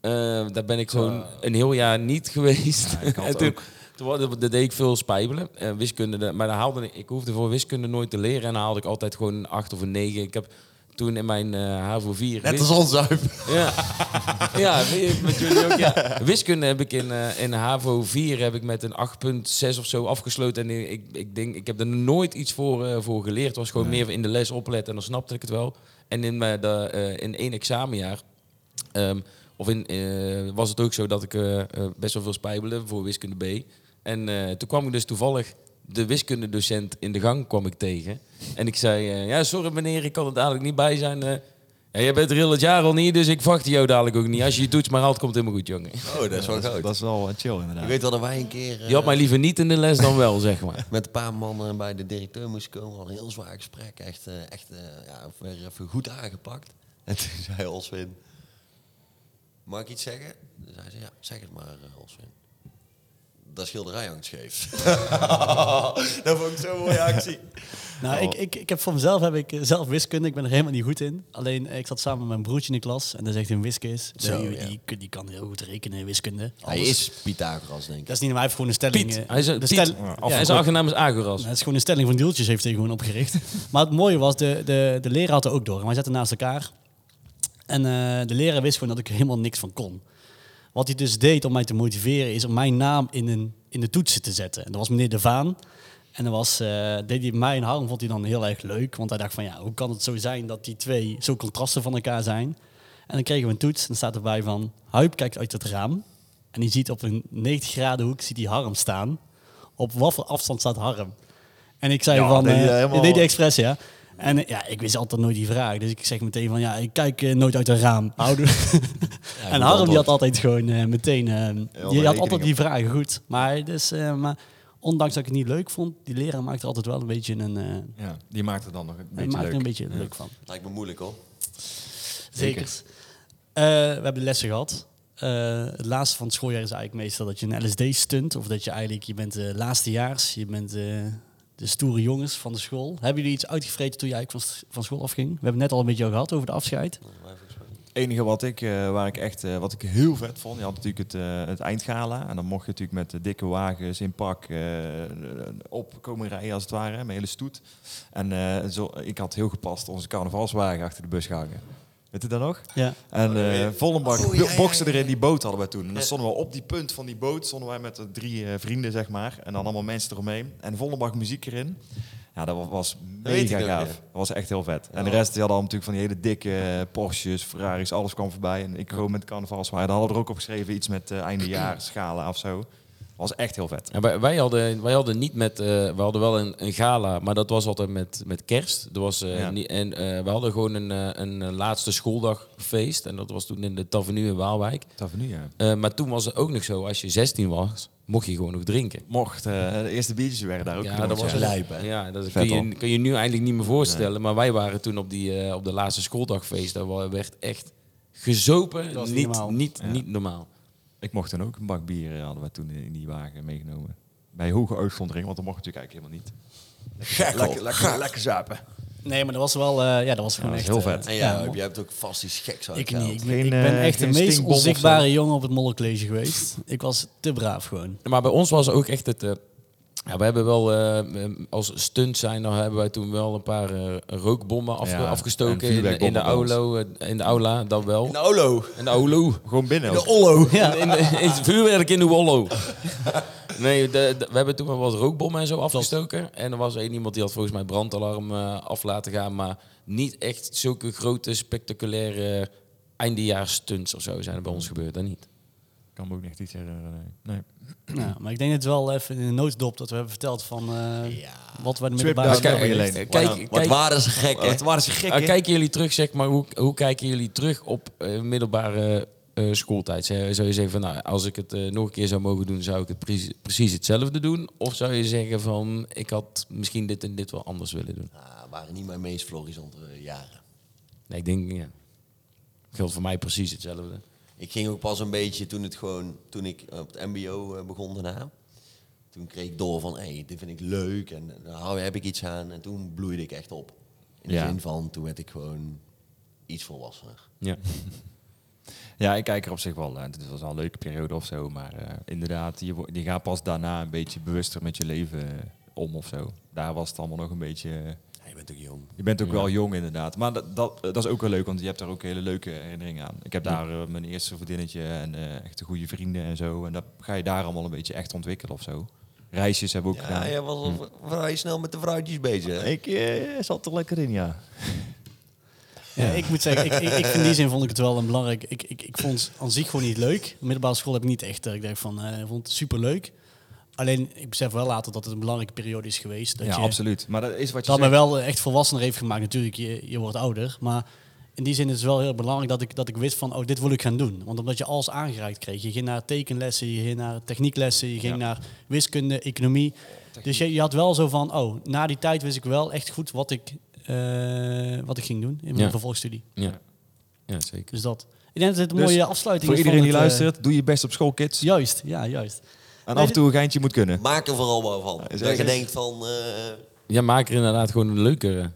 Speaker 4: Eh, daar ben ik gewoon een heel jaar niet geweest.
Speaker 5: ik had
Speaker 4: en toen, toen wa- dat deed ik veel spijbelen. eh, wiskunde, da- maar daar haalde ik, ik hoefde voor wiskunde nooit te leren. En dan haalde ik altijd gewoon een 8 of een 9. Ik heb toen in mijn eh HAVO 4...
Speaker 2: Net
Speaker 4: wis-
Speaker 2: als ons uit.
Speaker 4: Ja, ja met jullie ook. Ja. Wiskunde heb ik in, eh, in HAVO 4 heb ik met een 8.6 of zo afgesloten. En ik, ik denk, ik heb er nooit iets voor, eh, voor geleerd. Het was gewoon meer in de les opletten en dan snapte ik het wel. En in, mijn de, eh, in één examenjaar Ehm, of in, eh, was het ook zo dat ik eh, eh, best wel veel spijbelde voor wiskunde B. En eh, toen kwam ik dus toevallig de wiskundedocent in de gang kwam ik tegen. En ik zei, eh, ja sorry meneer, ik kan er dadelijk niet bij zijn. eh. ja, jij bent er heel het jaar al niet, dus ik verwacht jou dadelijk ook niet. Als je je toets maar haalt, komt het helemaal goed, jongen.
Speaker 2: Oh, dat is wel
Speaker 5: Dat,
Speaker 2: groot.
Speaker 5: is wel eh, chill
Speaker 2: Ik
Speaker 5: inderdaad.
Speaker 2: weet wel dat wij een keer eh,
Speaker 4: Je had mij liever niet in de les dan wel, zeg maar.
Speaker 2: met een paar mannen bij de directeur moesten komen. Al een heel zwaar gesprek. Echt, eh, echt eh, ja, we werden even goed aangepakt. En toen zei Oswin, mag ik iets zeggen? Dus hij zei, ja, zeg het maar, eh, Oswin. Dat schilderij hangt scheef. dat vond ik zo'n mooie actie.
Speaker 3: Nou,
Speaker 2: Oh.
Speaker 3: ik, ik, ik heb voor mezelf heb ik eh, zelf wiskunde. Ik ben er helemaal niet goed in. Alleen eh, ik zat samen met mijn broertje in de klas en dat is echt een wiskis.
Speaker 2: Zo,
Speaker 3: die,
Speaker 2: ja.
Speaker 3: die, kun- die kan heel goed rekenen, wiskunde.
Speaker 2: Hij
Speaker 3: Alles.
Speaker 2: is Pythagoras, denk ik.
Speaker 3: Dat is niet, maar hij heeft gewoon een stelling.
Speaker 4: Piet,
Speaker 3: eh,
Speaker 4: hij is, een-
Speaker 3: de
Speaker 4: Piet,
Speaker 3: stel-
Speaker 4: ja, en zijn achternaam is Agoras.
Speaker 3: Dat is gewoon een stelling van Dieltjes heeft hij gewoon opgericht. maar het mooie was, de, de, de leraar had er ook door. En wij zaten naast elkaar. En eh, de leraar wist gewoon dat ik er helemaal niks van kon. Wat hij dus deed om mij te motiveren, is om mijn naam in, een, in de toetsen te zetten. En dat was meneer De Vaan. En dat was, eh, deed hij mij en Harm vond hij dan heel erg leuk. Want hij dacht van, ja, hoe kan het zo zijn dat die twee zo contrasten van elkaar zijn? En dan kregen we een toets en dan staat erbij van... Huip kijkt uit het raam en die ziet op een 90 graden hoek ziet die Harm staan. Op wat voor afstand staat Harm? En ik zei
Speaker 5: Ja,
Speaker 3: van...
Speaker 5: deed hij
Speaker 3: eh,
Speaker 5: dat helemaal-
Speaker 3: deed hij expres, ja. En eh, ja, ik wist altijd nooit die vraag. Dus ik zeg meteen van, ja, ik kijk eh, nooit uit een raam. Houden. en Harm die had altijd gewoon eh, meteen... eh, die had
Speaker 5: rekening
Speaker 3: altijd
Speaker 5: op.
Speaker 3: die vragen goed. Maar, dus, eh, maar ondanks dat ik het niet leuk vond... Die leraar maakte altijd wel een beetje een... eh
Speaker 5: Ja, die maakt het dan nog een beetje
Speaker 3: maakte er
Speaker 5: leuk.
Speaker 3: een beetje leuk van.
Speaker 2: Lijkt me moeilijk hoor.
Speaker 3: Zeker. Eh, we hebben lessen gehad. Eh, het laatste van het schooljaar is eigenlijk meestal dat je een LSD stunt. Of dat je eigenlijk, je bent de laatstejaars, je bent eh, de stoere jongens van de school. Hebben jullie iets uitgevreten toen je eigenlijk van, s- van school afging? We hebben net al een beetje gehad over de afscheid.
Speaker 5: Het enige wat ik, eh, waar ik echt, eh, wat ik heel vet vond, je had natuurlijk het, eh, het eindgala. En dan mocht je natuurlijk met de dikke wagens in pak eh, op komen rijden als het ware, met een hele stoet. En eh, zo, ik had heel gepast onze carnavalswagen achter de bus gehangen. Weet je dat nog?
Speaker 3: Ja.
Speaker 5: En eh volle bak boksen erin, die boot hadden we toen. En dan stonden we op die punt van die boot, stonden wij met de drie eh, vrienden, zeg maar. En dan allemaal mensen eromheen. En volle bak muziek erin. Ja, dat wa- was
Speaker 2: weet ik
Speaker 5: mega
Speaker 2: ook,
Speaker 5: gaaf.
Speaker 2: ja.
Speaker 5: Dat was echt heel vet. En de rest, die hadden allemaal natuurlijk van die hele dikke eh, Porsches, Ferraris, alles kwam voorbij. En ik gewoon met carnavalswaar. Daar hadden we er ook op geschreven iets met eh eindejaar, schalen of zo. was echt heel vet.
Speaker 4: Ja, wij, wij hadden, wij hadden niet met, eh, we hadden wel een, een gala, maar dat was altijd met, met kerst. Er was, eh,
Speaker 5: Ja.
Speaker 4: niet, en eh, we hadden gewoon een, eh, een eh, laatste schooldagfeest. En dat was toen in de Tavernu in Waalwijk.
Speaker 5: Dat van nu, ja.
Speaker 4: Eh, maar toen was het ook nog zo, als je 16 was, mocht je gewoon nog drinken.
Speaker 5: Mocht, eh, de eerste biertjes werden daar ook
Speaker 4: Ja,
Speaker 5: gedronken,
Speaker 4: dat was
Speaker 5: ja.
Speaker 2: lijp, hè?
Speaker 4: Ja, dat
Speaker 5: Vet,
Speaker 4: kun je,
Speaker 5: hoor.
Speaker 4: kun je nu eigenlijk niet meer voorstellen. Maar wij waren toen op, die, eh, op de laatste schooldagfeest. Daar wa- werd echt gezopen.
Speaker 3: was
Speaker 4: niet,
Speaker 3: niet normaal.
Speaker 4: Niet, niet normaal.
Speaker 5: Ik mocht toen ook een bak bier, eh, hadden we toen in die wagen meegenomen. Bij hoge uitzondering, want dat mocht natuurlijk eigenlijk helemaal niet. Lekker, lekker, lekker, lekker zapen.
Speaker 3: Nee, maar dat was wel, eh, ja, dat was gewoon
Speaker 5: dat
Speaker 3: echt...
Speaker 5: was heel
Speaker 3: eh,
Speaker 5: vet.
Speaker 2: En
Speaker 3: ja,
Speaker 2: ja, jij hebt ook vast iets geks
Speaker 3: ik
Speaker 2: uitgehaald.
Speaker 3: niet. Ik,
Speaker 5: Geen,
Speaker 3: ik ben
Speaker 5: eh,
Speaker 3: echt de
Speaker 5: geen
Speaker 3: meest
Speaker 5: stinkbom of zo.
Speaker 3: onzichtbare jongen op het mollencollege geweest. Ik was te braaf gewoon.
Speaker 4: Maar bij ons was ook echt het... eh, ja, we hebben wel eh, als stunt zijn, dan hebben wij toen wel een paar eh, rookbommen afge-
Speaker 5: Ja, en
Speaker 4: afgestoken in, de- in, de
Speaker 5: vuurwerkbommen bij ons.
Speaker 4: aulo, eh, in de aula, dat wel.
Speaker 2: Nou, Olo.
Speaker 4: In de aulu.
Speaker 5: Gewoon binnen. ook.
Speaker 4: Ollo. Ja. In, in, in het vuurwerk in de Ollo. Nee, de- de- we hebben toen wel wat rookbommen en zo afgestoken. En er was één iemand die had volgens mij brandalarm eh, af laten gaan. Maar niet echt zulke grote, spectaculaire eindejaarstunts of zo zijn er bij ons gebeurd. Dat niet.
Speaker 5: kan me ook echt iets herinneren. Nee. nee.
Speaker 3: Ja, maar ik denk het wel even in de nooddop dat we hebben verteld van eh, wat we de middelbare
Speaker 5: down
Speaker 3: school-
Speaker 5: memory lane.
Speaker 4: kijk,
Speaker 2: Wat, wat
Speaker 4: kijk-
Speaker 2: waren ze gek, hè?
Speaker 5: Het waren ze gek,
Speaker 4: Ah, kijken jullie terug, zeg maar, hoe, hoe kijken jullie terug op eh, middelbare eh, schooltijd? Zou, zou je zeggen van, nou, als ik het eh, nog een keer zou mogen doen, zou ik het precies, precies hetzelfde doen? Of zou je zeggen van, ik had misschien dit en dit wel anders willen doen?
Speaker 2: Ah, waren niet mijn meest florissante eh, jaren.
Speaker 4: Nee, ik denk, ja. Geldt voor mij precies hetzelfde.
Speaker 2: Ik ging ook pas een beetje toen, het gewoon, toen ik op het mbo eh, begon daarna. Toen kreeg ik door van, hé, hey, dit vind ik leuk en eh, daar hou- heb ik iets aan. En toen bloeide ik echt op. In de
Speaker 5: Ja.
Speaker 2: zin van, toen werd ik gewoon iets volwassener.
Speaker 4: Ja.
Speaker 5: Ja, ik kijk er op zich wel naar. Het was al een leuke periode of zo. Maar eh, inderdaad, je, wo- je gaat pas daarna een beetje bewuster met je leven eh, om of zo. Daar was het allemaal nog een beetje... eh,
Speaker 2: Ja, je bent ook jong.
Speaker 5: Je bent ook wel jong inderdaad. Maar dat, dat, dat is ook wel leuk, want je hebt daar ook hele leuke herinneringen aan. Ik heb daar eh, mijn eerste vriendinnetje en eh echte goede vrienden en zo. En dat ga je daar allemaal een beetje echt ontwikkelen of zo. Reisjes hebben we ook
Speaker 2: Ja,
Speaker 5: gedaan.
Speaker 2: jij was al v- vrij snel met de vrouwtjes bezig. hè?
Speaker 5: Ik eh, zat er lekker in, ja.
Speaker 3: Ja, ik moet zeggen, ik, ik, ik, in die zin vond ik het wel een belangrijk. Ik, ik, ik vond het aan zich gewoon niet leuk. De middelbare school heb ik niet echt. eh, Ik denk van, eh, ik vond het superleuk. Alleen, ik besef wel later dat het een belangrijke periode is geweest. Dat
Speaker 5: ja,
Speaker 3: je,
Speaker 5: absoluut. Maar dat is wat je
Speaker 3: Dat me
Speaker 5: zegt.
Speaker 3: wel echt volwassener heeft gemaakt. Natuurlijk, je, je wordt ouder. Maar in die zin is het wel heel belangrijk dat ik, dat ik wist van, oh, dit wil ik gaan doen. Want omdat je alles aangeraakt kreeg. Je ging naar tekenlessen, je ging naar technieklessen, je ging
Speaker 5: Ja.
Speaker 3: naar wiskunde, economie. Dus je, je had wel zo van, oh, na die tijd wist ik wel echt goed wat ik, eh, wat ik ging doen in mijn
Speaker 4: Ja.
Speaker 3: vervolgstudie.
Speaker 4: Ja. ja, zeker.
Speaker 3: Dus dat. Ik denk dat dit een
Speaker 5: Dus
Speaker 3: mooie afsluiting
Speaker 5: Voor
Speaker 3: is. van
Speaker 5: iedereen die
Speaker 3: het, eh,
Speaker 5: luistert, doe je best op school, kids.
Speaker 3: Juist, ja, juist.
Speaker 5: En
Speaker 3: Nee,
Speaker 5: af en toe een geintje moet kunnen.
Speaker 2: Maak er vooral maar van.
Speaker 5: is
Speaker 2: dat je
Speaker 5: echt-
Speaker 2: denkt van, eh,
Speaker 4: Ja, maak er inderdaad gewoon een leuke,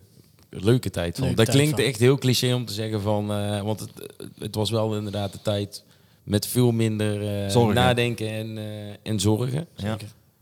Speaker 4: leuke tijd van.
Speaker 3: Leuke
Speaker 4: dat
Speaker 3: tijd
Speaker 4: klinkt
Speaker 3: van.
Speaker 4: echt heel cliché om te zeggen van... eh, want het, het was wel inderdaad de tijd met veel minder eh,
Speaker 5: Zorgen.
Speaker 4: nadenken en, eh, en zorgen.
Speaker 5: Ja.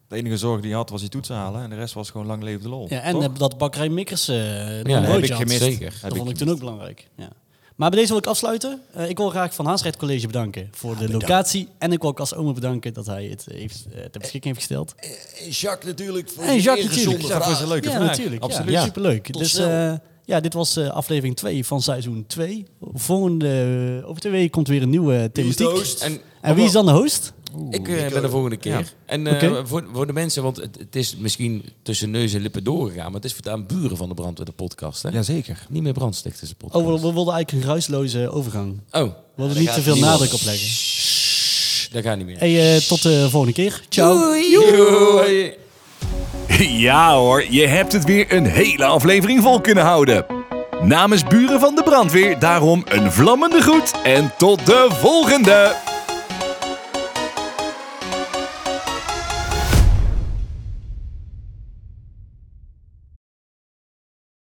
Speaker 5: De enige zorg die je had was die toetsen halen. En de rest was gewoon lang leven de lol.
Speaker 3: Ja, en
Speaker 5: Toch?
Speaker 3: eh, dat bakkerij Mikkers eh
Speaker 4: Ja,
Speaker 3: ja,
Speaker 4: heb ik
Speaker 5: gemist.
Speaker 4: Zeker.
Speaker 5: Heb
Speaker 3: Dat
Speaker 5: ik
Speaker 3: vond ik toen ook belangrijk. Ja. Maar bij deze wil ik afsluiten. Eh, ik wil graag Van Haasrecht College bedanken voor
Speaker 5: Ah,
Speaker 3: de locatie. En ik wil ook als oma bedanken dat hij het heeft, eh, ter beschikking heeft gesteld.
Speaker 2: eh, Jacques natuurlijk voor
Speaker 3: En
Speaker 2: die
Speaker 3: Jacques natuurlijk.
Speaker 2: ingezonde
Speaker 3: Jacques
Speaker 2: vraag.
Speaker 5: was een leuke
Speaker 3: ja,
Speaker 5: vraag.
Speaker 3: natuurlijk.
Speaker 4: absoluut.
Speaker 3: Ja,
Speaker 4: Ja.
Speaker 3: superleuk.
Speaker 2: Tot
Speaker 3: dus
Speaker 2: snel.
Speaker 3: eh, Ja, dit was eh, aflevering 2 van seizoen 2. Volgende, over twee weken komt weer een nieuwe eh,
Speaker 2: Wie is de
Speaker 3: thematiek.
Speaker 2: host?
Speaker 4: En,
Speaker 3: En wie is dan de host?
Speaker 4: Ik eh, ben de volgende keer. En eh,
Speaker 3: Oké.
Speaker 4: voor, voor de mensen, want het, het is misschien tussen neus en lippen doorgegaan, maar het is voortaan buren van de brandweer de podcast. Hè?
Speaker 5: Jazeker.
Speaker 4: Niet meer brandstichters de podcast.
Speaker 3: Oh, we, we wilden eigenlijk een ruisloze overgang.
Speaker 4: Oh,
Speaker 3: We wilden
Speaker 2: daar
Speaker 3: niet te
Speaker 2: gaat
Speaker 3: veel
Speaker 2: niemand.
Speaker 3: nadruk op leggen.
Speaker 4: dat gaat niet meer.
Speaker 3: Hey, eh, tot de volgende keer. Ciao.
Speaker 4: Doei.
Speaker 1: Ja hoor, je hebt het weer een hele aflevering vol kunnen houden. Namens Buren van de Brandweer daarom een vlammende groet en tot de volgende!